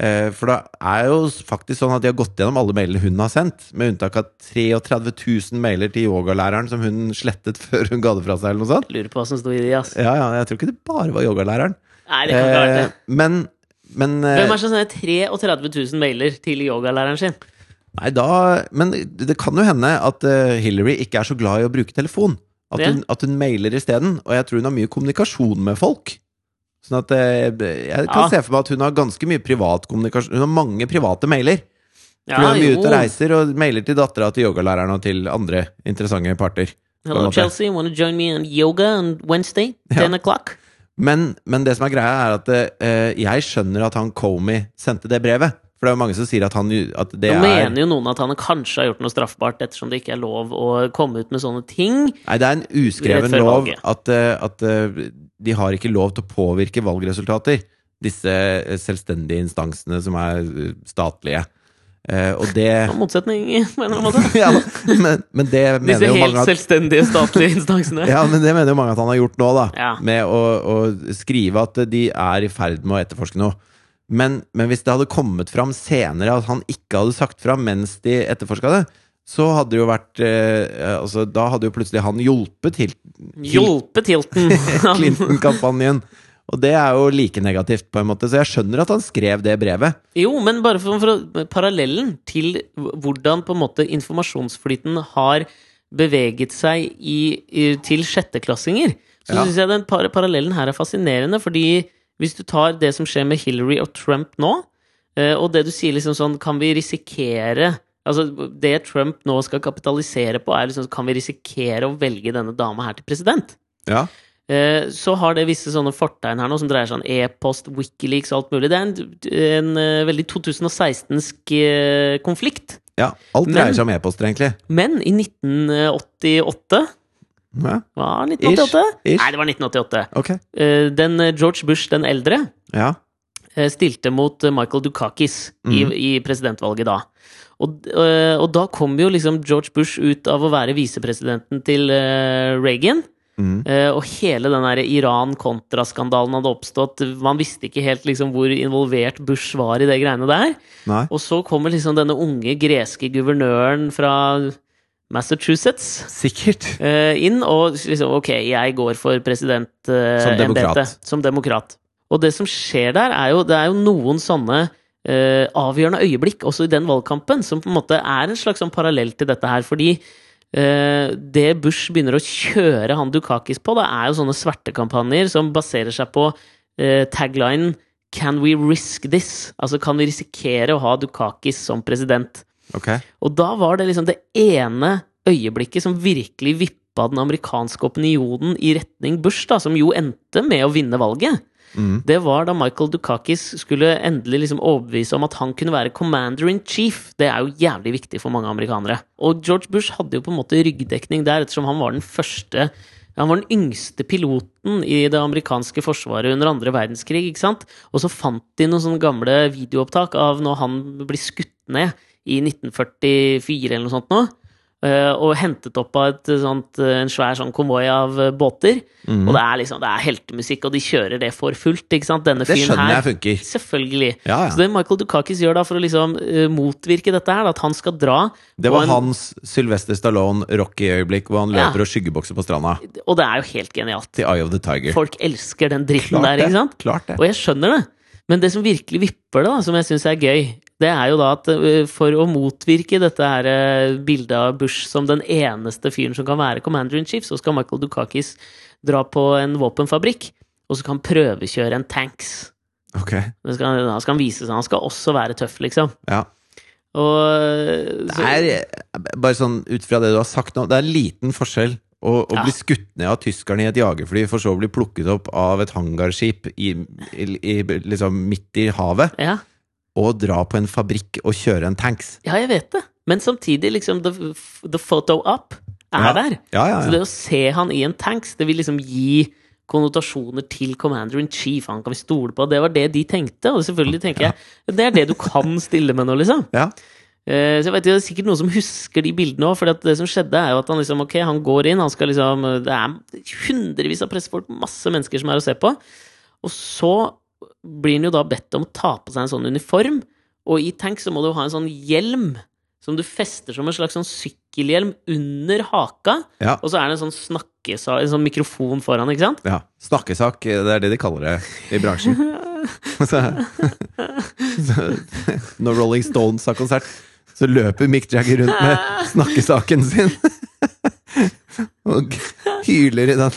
Eh, for det er jo faktisk sånn at de har gått gjennom alle mailene hun har sendt, med unntak av 33 000 mailer til yogalæreren som hun slettet før hun ga det fra seg, eller noe sånt.
Lurer på hva som sto i de, ass.
Ja, ja, jeg tror ikke det bare var yogalæreren.
Nei, det kan ikke være det.
Eh, men men eh,
Hvem er det som sender 33 000 mailer til yogalæreren sin?
Nei, da, men det kan jo hende at eh, Hillary ikke er så glad i å bruke telefon. At,
Ja.
hun, at hun mailer isteden. Og jeg tror hun har mye kommunikasjon med folk. Sånn at eh, Jeg kan
Ja.
se for meg at hun har ganske mye privat kommunikasjon. Hun har mange private mailer. For
Ja,
hun er mye ute og
jo.
reiser og mailer til dattera til yogalæreren og til andre interessante parter. på en
Hello,
måte.
Chelsea. Want to join me on yoga on Wednesday?
Ja.
10 o'clock?
Men, men det som er greia, er at eh, jeg skjønner at han Comey sendte det brevet. For det er jo mange som sier at, han, at det
Nå
er
mener jo noen at han kanskje har gjort noe straffbart, ettersom det ikke er lov å komme ut med sånne ting.
Nei, det er en uskreven
Rett før
lov
valget.
at, eh, at eh, de har ikke lov til å påvirke valgresultater, disse eh, selvstendige instansene som er eh, statlige. Eh, og det
Og motsetning, på en eller annen måte.
ja, da, men, men det mener
Disse
jo
helt
mange at
selvstendige statlige instansene.
ja, men det mener jo mange at han har gjort nå, da.
Ja.
Med å, å skrive at de er i ferd med å etterforske noe. Men, men hvis det hadde kommet fram senere at han ikke hadde sagt fra mens de etterforska det, så hadde det jo vært eh, altså, Da hadde jo plutselig han hjulpet til,
Hjulpet Hilton.
Clinton-kampanjen. Og det er jo like negativt, på en måte. Så jeg skjønner at han skrev det brevet.
jo, men bare for, for å- parallellen til hvordan på en måte informasjonsflyten har beveget seg i, i, til sjetteklassinger, så
Ja.
synes syns jeg den par parallellen her er fascinerende. Fordi hvis du tar det som skjer med Hillary og Trump nå, eh, og det du sier liksom sånn Kan vi risikere Altså, det Trump nå skal kapitalisere på, er liksom Kan vi risikere å velge denne dama her til president?
Ja.
Eh, Så har det visse sånne fortegn her nå, som dreier seg om e-post, Wikileaks, alt mulig. Det er en, en eh, veldig 2016-sk eh, konflikt.
Ja, alt
Men-
dreier seg om e-poster, egentlig.
Men i 1988
Ja,
Hva, 1988?
Ish, ish.
Nei, det var 1988.
ok.
Eh, Den eh, George Bush den eldre
Ja.
eh, stilte mot eh, Michael Dukakis
Mhm.
i, i presidentvalget da. Og, eh, og da kom jo liksom George Bush ut av å være visepresidenten til eh, Reagan.
Mm.
Eh, Og hele den der Iran-kontraskandalen hadde oppstått. Man visste ikke helt liksom hvor involvert Bush var i det greiene der.
Nei.
Og så kommer liksom denne unge greske guvernøren fra Massachusetts
Sikkert.
eh, inn og liksom Ok, jeg går for eh,
Som demokrat.
presidentembetet som demokrat. Og det som skjer der, er jo, det er jo noen sånne eh, avgjørende øyeblikk også i den valgkampen, som på en måte er en slags sånn parallell til dette her. Fordi eh, det Bush begynner å kjøre han Dukakis på, da er jo sånne svertekampanjer som baserer seg på eh, taglinen 'Can we risk this?' Altså, kan vi risikere å ha Dukakis som president?
Ok.
Og da var det liksom det ene øyeblikket som virkelig vippa den amerikanske opinionen i retning Bush, da, som jo endte med å vinne valget.
Mm.
Det var da Michael Dukakis skulle endelig liksom overbevise om at han kunne være commander in chief. Det er jo jævlig viktig for mange amerikanere. Og George Bush hadde jo på en måte ryggdekning der, ettersom han var den første han var den yngste piloten i det amerikanske forsvaret under andre verdenskrig. ikke sant? Og så fant de noen sånne gamle videoopptak av når han blir skutt ned i 1944 eller noe sånt nå. eh, Og hentet opp av et sånt, eh, en svær sånn konvoi av eh, båter.
Mhm.
Og det er liksom, det er heltemusikk, og de kjører det for fullt. ikke sant? Denne
Det
fyren
skjønner
her.
jeg funker.
Selvfølgelig.
Ja,
Så
ja.
det Michael Dukakis gjør da for å liksom eh, motvirke dette her, da, at han skal dra
Det
på
var
en-
hans Sylvester Stallone-Rocky-øyeblikk hvor han
Ja.
løper og skyggebokser på stranda.
Og det er jo helt genialt.
Til Eye of the Tiger.
Folk elsker den dritten der,
Klart
ikke sant?
Klart det.
Og jeg skjønner det. Men det som virkelig vipper det, da, som jeg syns er gøy, det er jo da at øh, for å motvirke dette her øh, bildet av Bush som den eneste fyren som kan være commander in chief, så skal Michael Dukakis dra på en våpenfabrikk, og så skal han prøvekjøre en tanks.
Ok,
Da skal han, da skal han vise seg. Han skal også være tøff, liksom.
ja.
Og øh,
Det
så,
er eh, bare sånn ut fra det du har sagt nå, det er en liten forskjell å, å
Ja.
bli skutt ned av tyskerne i et jagerfly, for så å bli plukket opp av et hangarskip i, i, i, liksom midt i havet,
ja.
og dra på en fabrikk og kjøre en tanks.
ja, jeg vet det. Men samtidig, liksom, the, the photo up er
Ja.
der.
Ja, ja,
Så
ja.
det å se han i en tanks, det vil liksom gi konnotasjoner til Commander in Chief. Han kan vi stole på. Det var det de tenkte, og selvfølgelig tenker jeg det er det du kan stille med nå, liksom.
ja.
Eh, Så jeg vet, ikke, det er sikkert noen som husker de bildene òg, for det som skjedde, er jo at han liksom, ok, han går inn, han skal liksom Det er hundrevis av pressefolk, masse mennesker som er å se på. Og så blir han jo da bedt om å ta på seg en sånn uniform, og i tank så må du ha en sånn hjelm som du fester som en slags sånn sykkelhjelm under haka.
Ja.
Og så er det en sånn snakkesa, en sånn mikrofon foran, ikke sant?
ja. Snakkesak, eh, det er det de kaller det i bransjen. så, så, når Rolling Stones har konsert, så løper Mick Jagger rundt med snakkesaken sin. og hyler i den.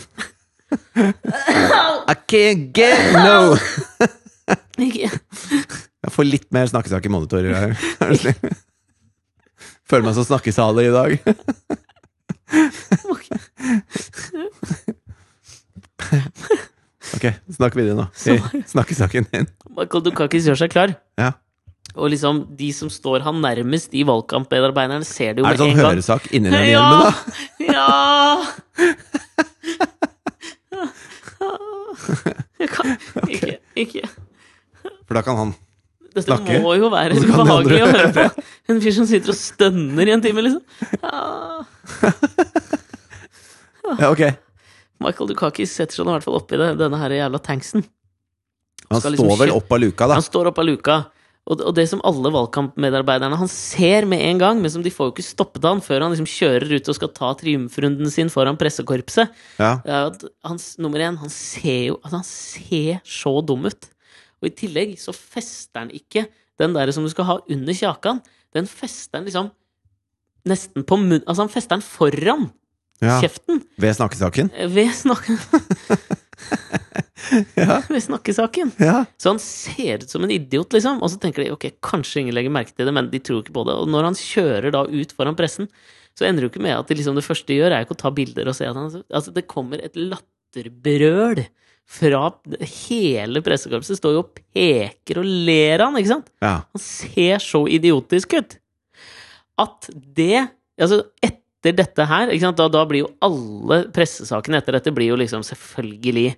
I can't get no
Ikke-
Jeg får litt mer snakkesak i monitorer her. er det slik? Føler meg som snakkesaler i dag. Ok, snakk videre nå. Si snakkesaken din.
Michael Dukakis gjør seg klar.
Ja.
Og liksom, de som står han nærmest i valgkampmedarbeiderne, ser det jo
Er
med
det sånn
en gang.
høresak inni den hjelmen,
Ja!
da?
Ja! Jeg kan ikke, ikke.
For da kan han
Dette
Snakke,
må jo være
og så kan de andre
ubehagelig å høre på. En fyr som sitter og stønner i en time, liksom. Ja.
Ja, ok.
Michael Dukakis setter seg nå sånn, i hvert fall oppi det, denne her jævla tanksen.
Han
Skal liksom
står vel
kjø-
opp av luka, da.
Han står opp av luka. Og og det som alle valgkampmedarbeiderne Han ser med en gang, men som de får jo ikke stoppet han før han liksom kjører ut og skal ta triumfrunden sin foran pressekorpset.
Ja.
Det er jo at han, s- nummer én, han ser jo altså Han ser så dum ut. Og i tillegg så fester han ikke den der som du skal ha under kjakan. Den fester han liksom nesten på munnen Altså, han fester den foran
ja.
kjeften
Ved snakkesaken.
eh, ved, snak
Ja.
ved snakkesaken.
ja.
Så han ser ut som en idiot, liksom. Og så tenker de ok, kanskje ingen legger merke til det, men de tror ikke på det. Og når han kjører da ut foran pressen, så ender det jo ikke med at de liksom det første de gjør, er ikke å ta bilder og se at han Altså, det kommer et latterbrøl fra hele pressekorpset. Står jo og peker og ler han, ikke sant?
ja.
Han ser så idiotisk ut. at det Altså, etter dette her ikke sant? Da, da blir jo alle pressesakene etter dette blir jo liksom selvfølgelig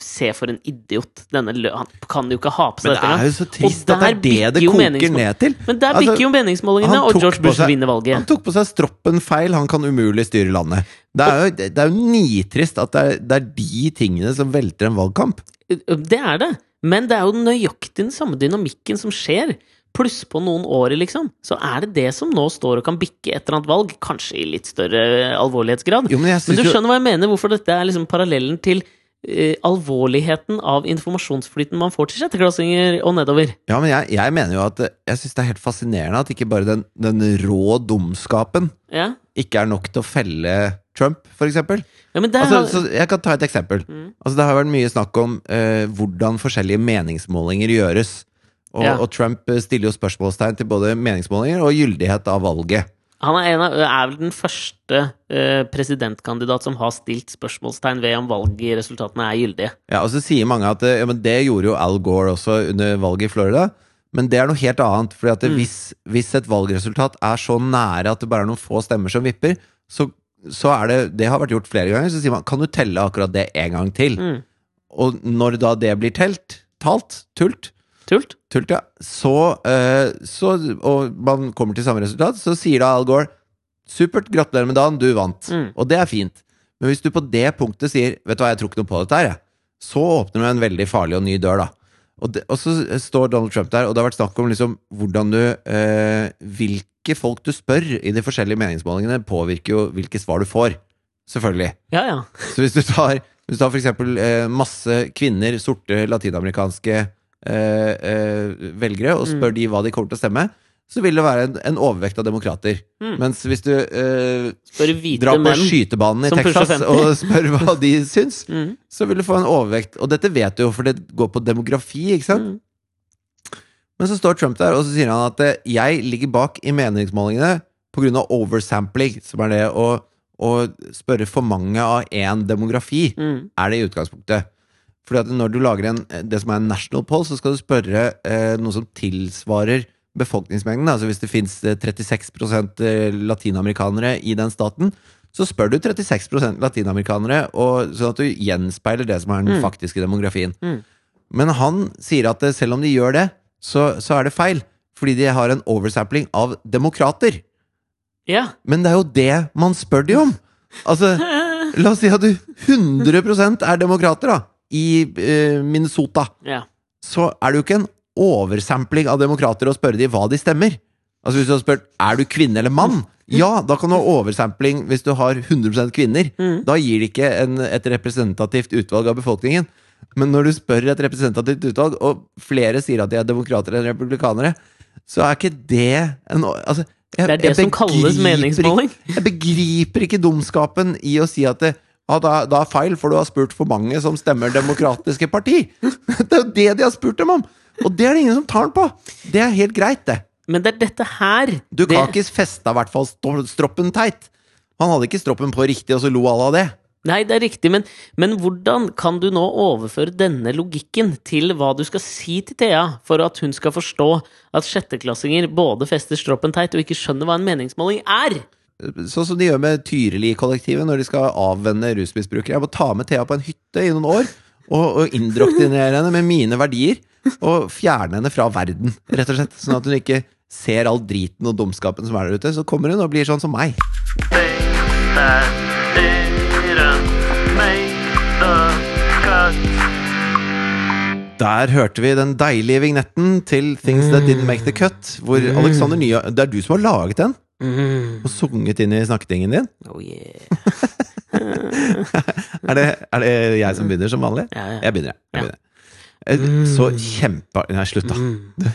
Se for en idiot! Denne lø... Han kan jo ikke ha på seg
Men det
dette
er
engang.
jo så trist
Og
at det er
der
det det
bikker jo
koker
meningsmål-
ned til.
Men der
Altså,
bikker jo meningsmålingene,
han
og
tok
George
på
Bush
seg-
vinner
Han
valget.
tok på seg stroppen feil, han kan umulig styre landet. Det er jo, det er jo nitrist at det er, det er de tingene som velter en valgkamp.
Eh, Det er det. Men det er jo nøyaktig den samme dynamikken som skjer. Pluss på noen år, liksom. Så er det det som nå står og kan bikke et eller annet valg. Kanskje i litt større alvorlighetsgrad.
Jo, men jeg
Men du
synes jo,
skjønner hva jeg mener, hvorfor dette er liksom parallellen til eh, alvorligheten av informasjonsflyten man får til sjetteklassinger og nedover.
ja, men jeg, jeg mener jo at eh, jeg syns det er helt fascinerende at ikke bare den, den rå dumskapen
Ja,
ikke er nok til å felle Trump, for eksempel.
ja men der har-
Altså, så jeg kan ta et eksempel.
Mm.
Altså, det har vært mye snakk om eh, hvordan forskjellige meningsmålinger gjøres. Og,
Ja.
og Trump eh, stiller jo spørsmålstegn til både meningsmålinger og gyldighet av valget.
Han er, en av, er vel den første eh, presidentkandidat som har stilt spørsmålstegn ved om valgresultatene er gyldige.
Ja, og så sier mange at eh, ja, men det gjorde jo Al Gore også under valget i Florida. Men det er noe helt annet. fordi at det, hvis, hvis et valgresultat er så nære at det bare er noen få stemmer som vipper, så, så er det Det har vært gjort flere ganger. Så sier man kan du telle akkurat det en gang til?
Mm.
Og når da det blir telt, talt, tult,
Tult?
tult ja, så, eh, så Og man kommer til samme resultat, så sier da Al Gore Supert, gratulerer med dagen, du vant.
Mm.
Og det er fint. Men hvis du på det punktet sier Vet du hva, jeg tror ikke noe på dette her, jeg. Så åpner du en veldig farlig og ny dør, da. Og, det, og så står Donald Trump der, og det har vært snakk om liksom hvordan du eh, Hvilke folk du spør i de forskjellige meningsmålingene, påvirker jo hvilke svar du får. Selvfølgelig.
Ja, ja.
Så hvis du tar, hvis du tar for eksempel eh, masse kvinner, sorte latinamerikanske eh, eh, velgere, og
Mm.
spør de hva de kommer til å stemme, så vil det være en, en overvekt av demokrater.
Mm.
Mens hvis du eh,
Bare hvite
drar på
menn.
skytebanen i
som pusher
Texas
50.
og spør hva de syns,
Mm.
så vil du få en overvekt. Og dette vet du jo, for det går på demografi, ikke sant?
Mm.
Men så står Trump der, og så sier han at eh, jeg ligger bak i meningsmålingene pga. oversampling, som er det å, å spørre for mange av én demografi
Mm.
er det i utgangspunktet. Fordi at når du lager en, eh, det som er en national poll, så skal du spørre eh, noe som tilsvarer befolkningsmengden. Altså hvis det fins 36 eh, latinamerikanere i den staten, så spør du 36 latinamerikanere, og, sånn at du gjenspeiler det som er den
Mm.
faktiske demografien.
Mm.
Men han sier at eh, selv om de gjør det, så, så er det feil. Fordi de har en oversampling av demokrater.
Ja.
Men det er jo det man spør de om! Altså, La oss si at du 100 er demokrater da i eh, Minnesota.
ja.
Så er det jo ikke en oversampling av demokrater å spørre de hva de stemmer. Altså Hvis du har spurt er du kvinne eller mann, ja, da kan du ha oversampling hvis du har 100 kvinner.
Mm.
Da gir det ikke en, et representativt utvalg av befolkningen. Men når du spør et representativt utvalg, og flere sier at de er demokrater eller republikanere, så er ikke det en altså, jeg,
Det er det
jeg
som kalles
begriper
meningsmåling.
jeg begriper ikke dumskapen i å si at det, ja, da, da er feil, for du har spurt for mange som stemmer demokratiske parti. Det er jo det de har spurt dem om! Og det er det ingen som tar den på! Det er helt greit, det.
Men det er dette her det,
Dukakis festa i hvert fall sto- stroppen teit. Han hadde ikke stroppen på riktig, og så lo alle av det.
Nei, det er riktig, men, men hvordan kan du nå overføre denne logikken til hva du skal si til Thea for at hun skal forstå at sjetteklassinger både fester stroppen teit og ikke skjønner hva en meningsmåling er?
Sånn som de gjør med Tyrili-kollektivet når de skal avvenne rusmisbrukere. Jeg må ta med Thea på en hytte i noen år og, og indoktrinere henne med mine verdier. Og fjerne henne fra verden, rett og slett. Sånn at hun ikke ser all driten og dumskapen som er der ute. Så kommer hun og blir sånn som meg.
things that didn't make the cut.
Der hørte vi den deilige vignetten til Things That Didn't Make The Cut. Hvor Alexander Nya Det er du som har laget den, og sunget inn i snakketingen din.
Oh yeah.
Er det, er det jeg som begynner, som vanlig?
Ja, ja.
Jeg begynner, jeg. jeg begynner. Eh, Så kjempe... Nei,
Mm.
slutt, da.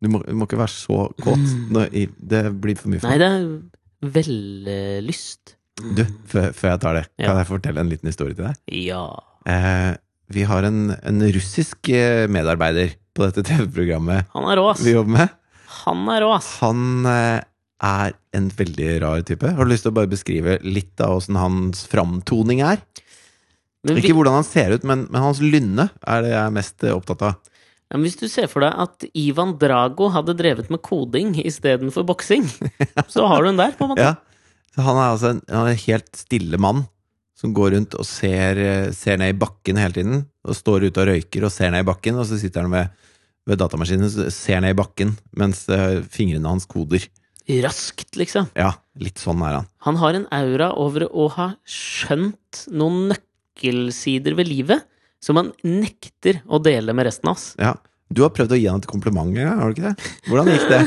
Du må, du må ikke være så kåt.
Mm.
Nå, i, det blir for mye for
Nei,
meg.
det er vellyst.
Du, før, før jeg tar det,
Ja.
kan jeg fortelle en liten historie til deg?
Ja.
Eh, vi har en, en russisk eh, medarbeider på dette TV-programmet
Han er rå, ass.
vi jobber med.
Han er rå, ass.
Han eh, er en veldig rar type. Har du lyst til å bare beskrive litt av åssen hans framtoning er?
Men vi, Mm.
Ikke hvordan han ser ut, men, men hans lynne er det jeg er mest eh, opptatt av.
Ja, men hvis du ser for deg at Ivan Drago hadde drevet med koding istedenfor boksing, så har du en der, på en måte.
Ja. Så han er altså en, han er en helt stille mann som går rundt og ser, eh, ser ned i bakken hele tiden. Og står ute og røyker og ser ned i bakken, og så sitter han ved, ved datamaskinen og ser ned i bakken mens eh, fingrene hans koder.
Raskt, liksom.
Ja, litt sånn er han.
Han har en aura over å ha skjønt noen nøkkelsider ved livet som han nekter å dele med resten av oss.
Ja. Du har prøvd å gi han et kompliment, ja, har du ikke det? Hvordan gikk det?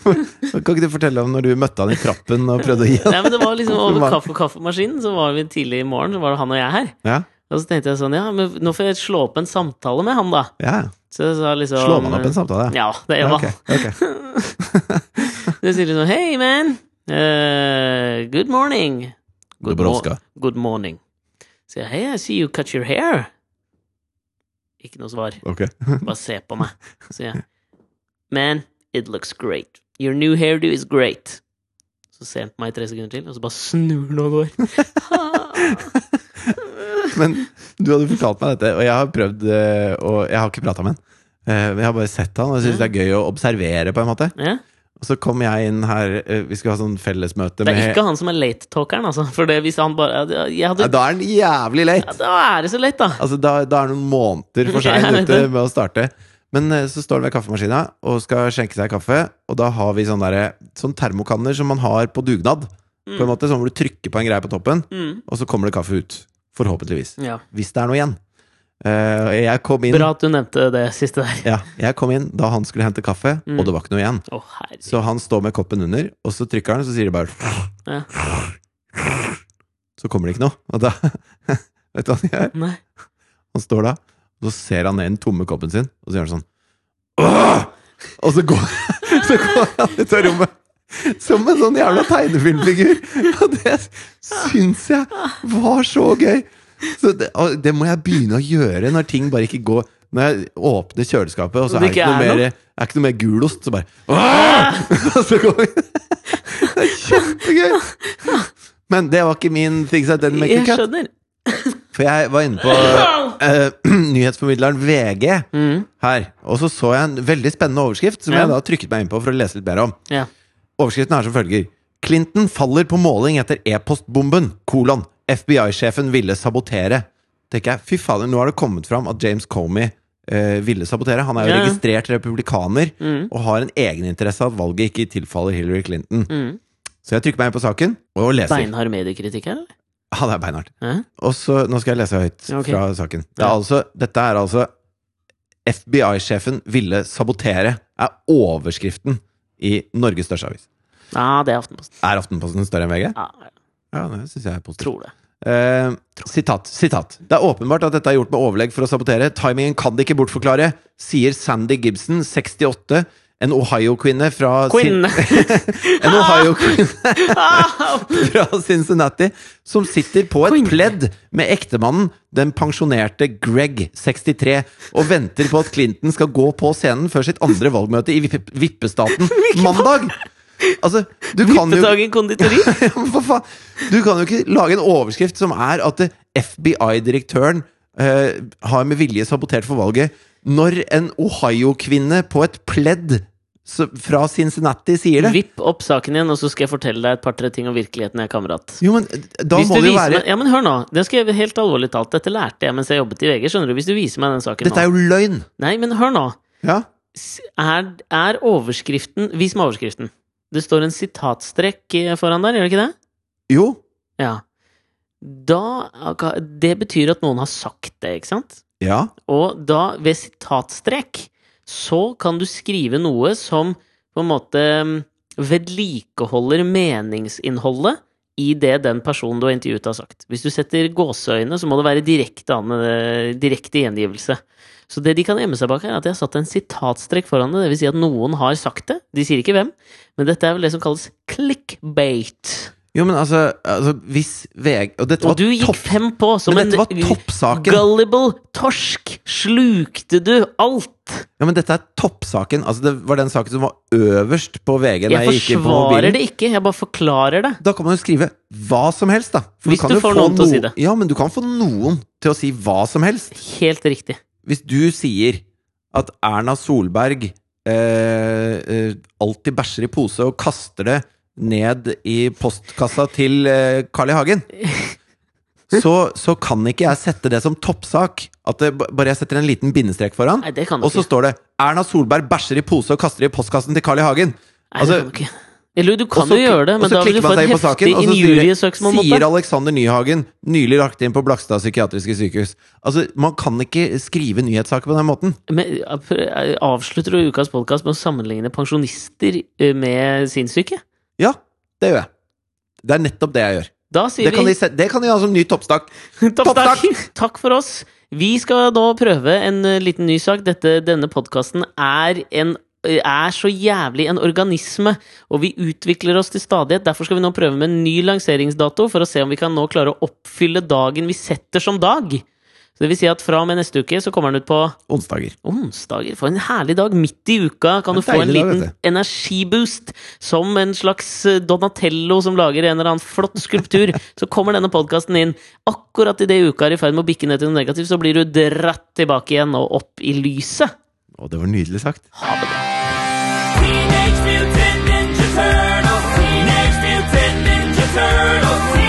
kan ikke du fortelle om når du møtte han i trappen og prøvde å gi han
Nei, men det var liksom Over
Kompliment.
kaffe- og kaffemaskinen så var vi tidlig i morgen, så var det han og jeg her.
Ja,
Og så tenkte jeg sånn, ja, men nå får jeg slå opp en samtale med han, da.
ja.
Så jeg sa liksom
Slår man opp en samtale?
Ja, det gjør
Ja,
man.
ok, ok.
Så sier de sånn Hei, man! Eh, good morning.
Dobroska.
mo- good morning. Sier jeg Hei, I see you cut your hair. Ikke noe svar.
Ok.
Bare se på meg. Sier jeg Man, it looks great. Your new hairdo is great. Så ser han på meg i tre sekunder til, og så bare snur han og går.
Men du hadde fortalt meg dette, og jeg har prøvd eh, Og jeg har ikke prata med han. Eh, Men jeg har bare sett han, og jeg syns det er gøy å observere, på en måte.
ja.
Og så kom jeg inn her eh, Vi skulle ha sånn fellesmøte
Det
med
er ikke han som er late-talkeren, altså. For det, hvis han bare jeg
Nei,
hadde,
Da er han
ja,
jævlig late!
Da er det så late, da.
Altså, da, da er han noen måneder for sein
Jeg vet
ute
det.
med å starte. Men eh, så står han ved kaffemaskina og skal skjenke seg kaffe, og da har vi sånne, derre- sånne termokanner som man har på dugnad. På en måte, Sånn hvor du trykker på en greie på toppen,
Mm.
og så kommer det kaffe ut. Forhåpentligvis.
Ja.
Hvis det er noe igjen. Eh, og jeg kom inn
Mm. Bra at du nevnte det siste der.
Ja, jeg kom inn da han skulle hente kaffe, og det var ikke noe igjen.
Å, herregud.
Så han står med koppen under, og så trykker han, og så sier det bare
Ja.
Så kommer det ikke noe. Og da Vet du hva han gjør?
Nei.
Han står da, og så ser han ned i den tomme koppen sin, og så gjør han sånn «Åh!» Og så går, så går han ut av rommet. Som en sånn jævla tegnefilmfigur! Og det syns jeg var så gøy! Så det, og det må jeg begynne å gjøre når ting bare ikke går Når jeg åpner kjøleskapet, og så
Og
er
det
det ikke
ikke
noe
er
mer, er ikke noe mer gulost, så bare «Åh!» Og så går vi Det er kjempegøy! Men det var ikke min thing set den
Jeg
make
skjønner.
For jeg var inne på eh, nyhetsformidleren VG her, og så så jeg en veldig spennende overskrift som
Mm. Ja.
jeg da trykket meg inn på for å lese litt mer om.
Ja.
Overskriften er som følger Clinton faller på måling etter e-postbomben Kolon FBI-sjefen ville sabotere Tenker jeg, fy faen, nå har det kommet fram at James Comey eh, ville sabotere Han er jo
Ja, ja.
registrert republikaner Og har en egeninteresse av at valget ikke tilfaller Hillary Clinton
Mm.
Så jeg trykker meg inn på saken og leser
Beinhard mediekritikk her, eller?
Han er beinhardt
Ja.
og så, nå skal jeg lese høyt
Ok.
fra saken. Det er
Ja.
altså, dette er altså FBI-sjefen ville sabotere, er overskriften i Norges største avis.
Ah, det er Aftenposten.
Er Aftenposten større enn VG?
Ja, jeg
Ja, det syns jeg er positivt.
tror det.
Eh, sitat, sitat. Det er åpenbart at dette er gjort med overlegg for å sabotere. Timingen kan de ikke bortforklare, sier Sandy Gibson, 68, en Ohio-kvinne fra
Quinn!
En Ohio-kvinne
Ah!
fra Cincinnati som sitter på et
Queen.
pledd med ektemannen, den pensjonerte Greg, 63, og venter på at Clinton skal gå på scenen før sitt andre valgmøte i vipp- vippestaten mandag. Altså, du kan jo
Bedagen konditori?
ja, men for faen. Du kan jo ikke lage en overskrift som er at FBI-direktøren eh, har med vilje sabotert for valget, når en Ohio-kvinne på et pledd s- fra Cincinnati sier det.
Vipp opp saken igjen, og så skal jeg fortelle deg et par-tre ting om virkeligheten, jeg, kamerat.
Jo, men eh, da
Hvis
må
du
det jo
viser
være
meg, ja, men hør nå, det skal jeg helt alvorlig talt, dette lærte jeg mens jeg jobbet i VG, skjønner du, hvis du viser meg den saken
Dette er jo løgn!
nå. Nei, men hør nå,
Ja.
S- er, er overskriften, vis meg overskriften. Det står en sitatstrekk eh, foran der, gjør det ikke det?
Jo.
Ja. Da, det betyr at noen har sagt det, ikke sant?
Ja.
Og da, ved sitatstrek, så kan du skrive noe som på en måte mm, vedlikeholder meningsinnholdet i det den personen du har intervjuet, har sagt. Hvis du setter gåseøyne, så må det være direkte, an- eh, direkte gjengivelse. Så det de kan gjemme seg bak, er at de har satt en sitatstrek foran det. Det vil si at noen har sagt det. De sier ikke hvem, men dette er vel det som kalles clickbait.
Jo, men altså, altså Hvis VG Og dette
Og
var,
du gikk
topp,
fem på som
men dette var
en
toppsaken!
gullible torsk. Slukte du alt?
Ja, men dette er toppsaken. Altså, det var den saken som var øverst på VG. da
Jeg
jeg gikk inn på
forsvarer
mobilen.
det ikke, jeg bare forklarer det.
Da kan man jo skrive hva som helst, da. For
Hvis
kan
du
jo
får
få
noen til å si det.
Ja, men du kan få noen til å si hva som helst.
Helt riktig.
Hvis du sier at Erna Solberg eh, eh, alltid bæsjer i pose og kaster det ned i postkassa til eh, Carl I. Hagen, så, så kan ikke jeg sette det som toppsak. At det, ba- bare jeg setter en liten bindestrek foran,
Nei, det kan du
og så
ikke.
står det 'Erna Solberg bæsjer i pose og kaster det i postkassen til Carl I. Hagen'.
Nei, det
altså-
kan du ikke. Eller du kan
Og så
jo gjøre det, men
klik- og så
da vil
klikker
du få
man
et
seg inn på
heftig
saken, og så sier-
injuriesøksmål mot
Sier
deg.
Alexander Nyhagen, nylig lagt inn på Blakstad psykiatriske sykehus. Altså, Man kan ikke skrive nyhetssaker på den måten.
Men, eh, Avslutter du ukas podkast med å sammenligne pensjonister eh, med sinnssyke?
Ja, det gjør jeg. Det er nettopp det jeg gjør.
Da sier
Det kan
vi
de, se- det kan de ha som ny toppstak.
Topp takk.
Topp
takk for oss. Vi skal da prøve en eh, liten ny sak. Dette, denne podkasten er en er så jævlig en organisme, og vi utvikler oss til stadighet. Derfor skal vi nå prøve med en ny lanseringsdato for å se om vi kan nå klare å oppfylle dagen vi setter som dag. Så det vil si at fra og med neste uke så kommer den ut på
Onsdager.
onsdager. For en herlig dag midt i uka kan du
Det er
få en
deilig dag,
liten
vet
energiboost. Som en slags eh, Donatello som lager en eller annen flott skulptur. Så kommer denne podkasten inn. Akkurat idet uka er i ferd med å bikke ned til noe negativt, så blir du dratt tilbake igjen og opp i lyset.
Å, det var nydelig sagt.
Teenage Mutant Ninja Turtles. Teenage Mutant Ninja Turtles.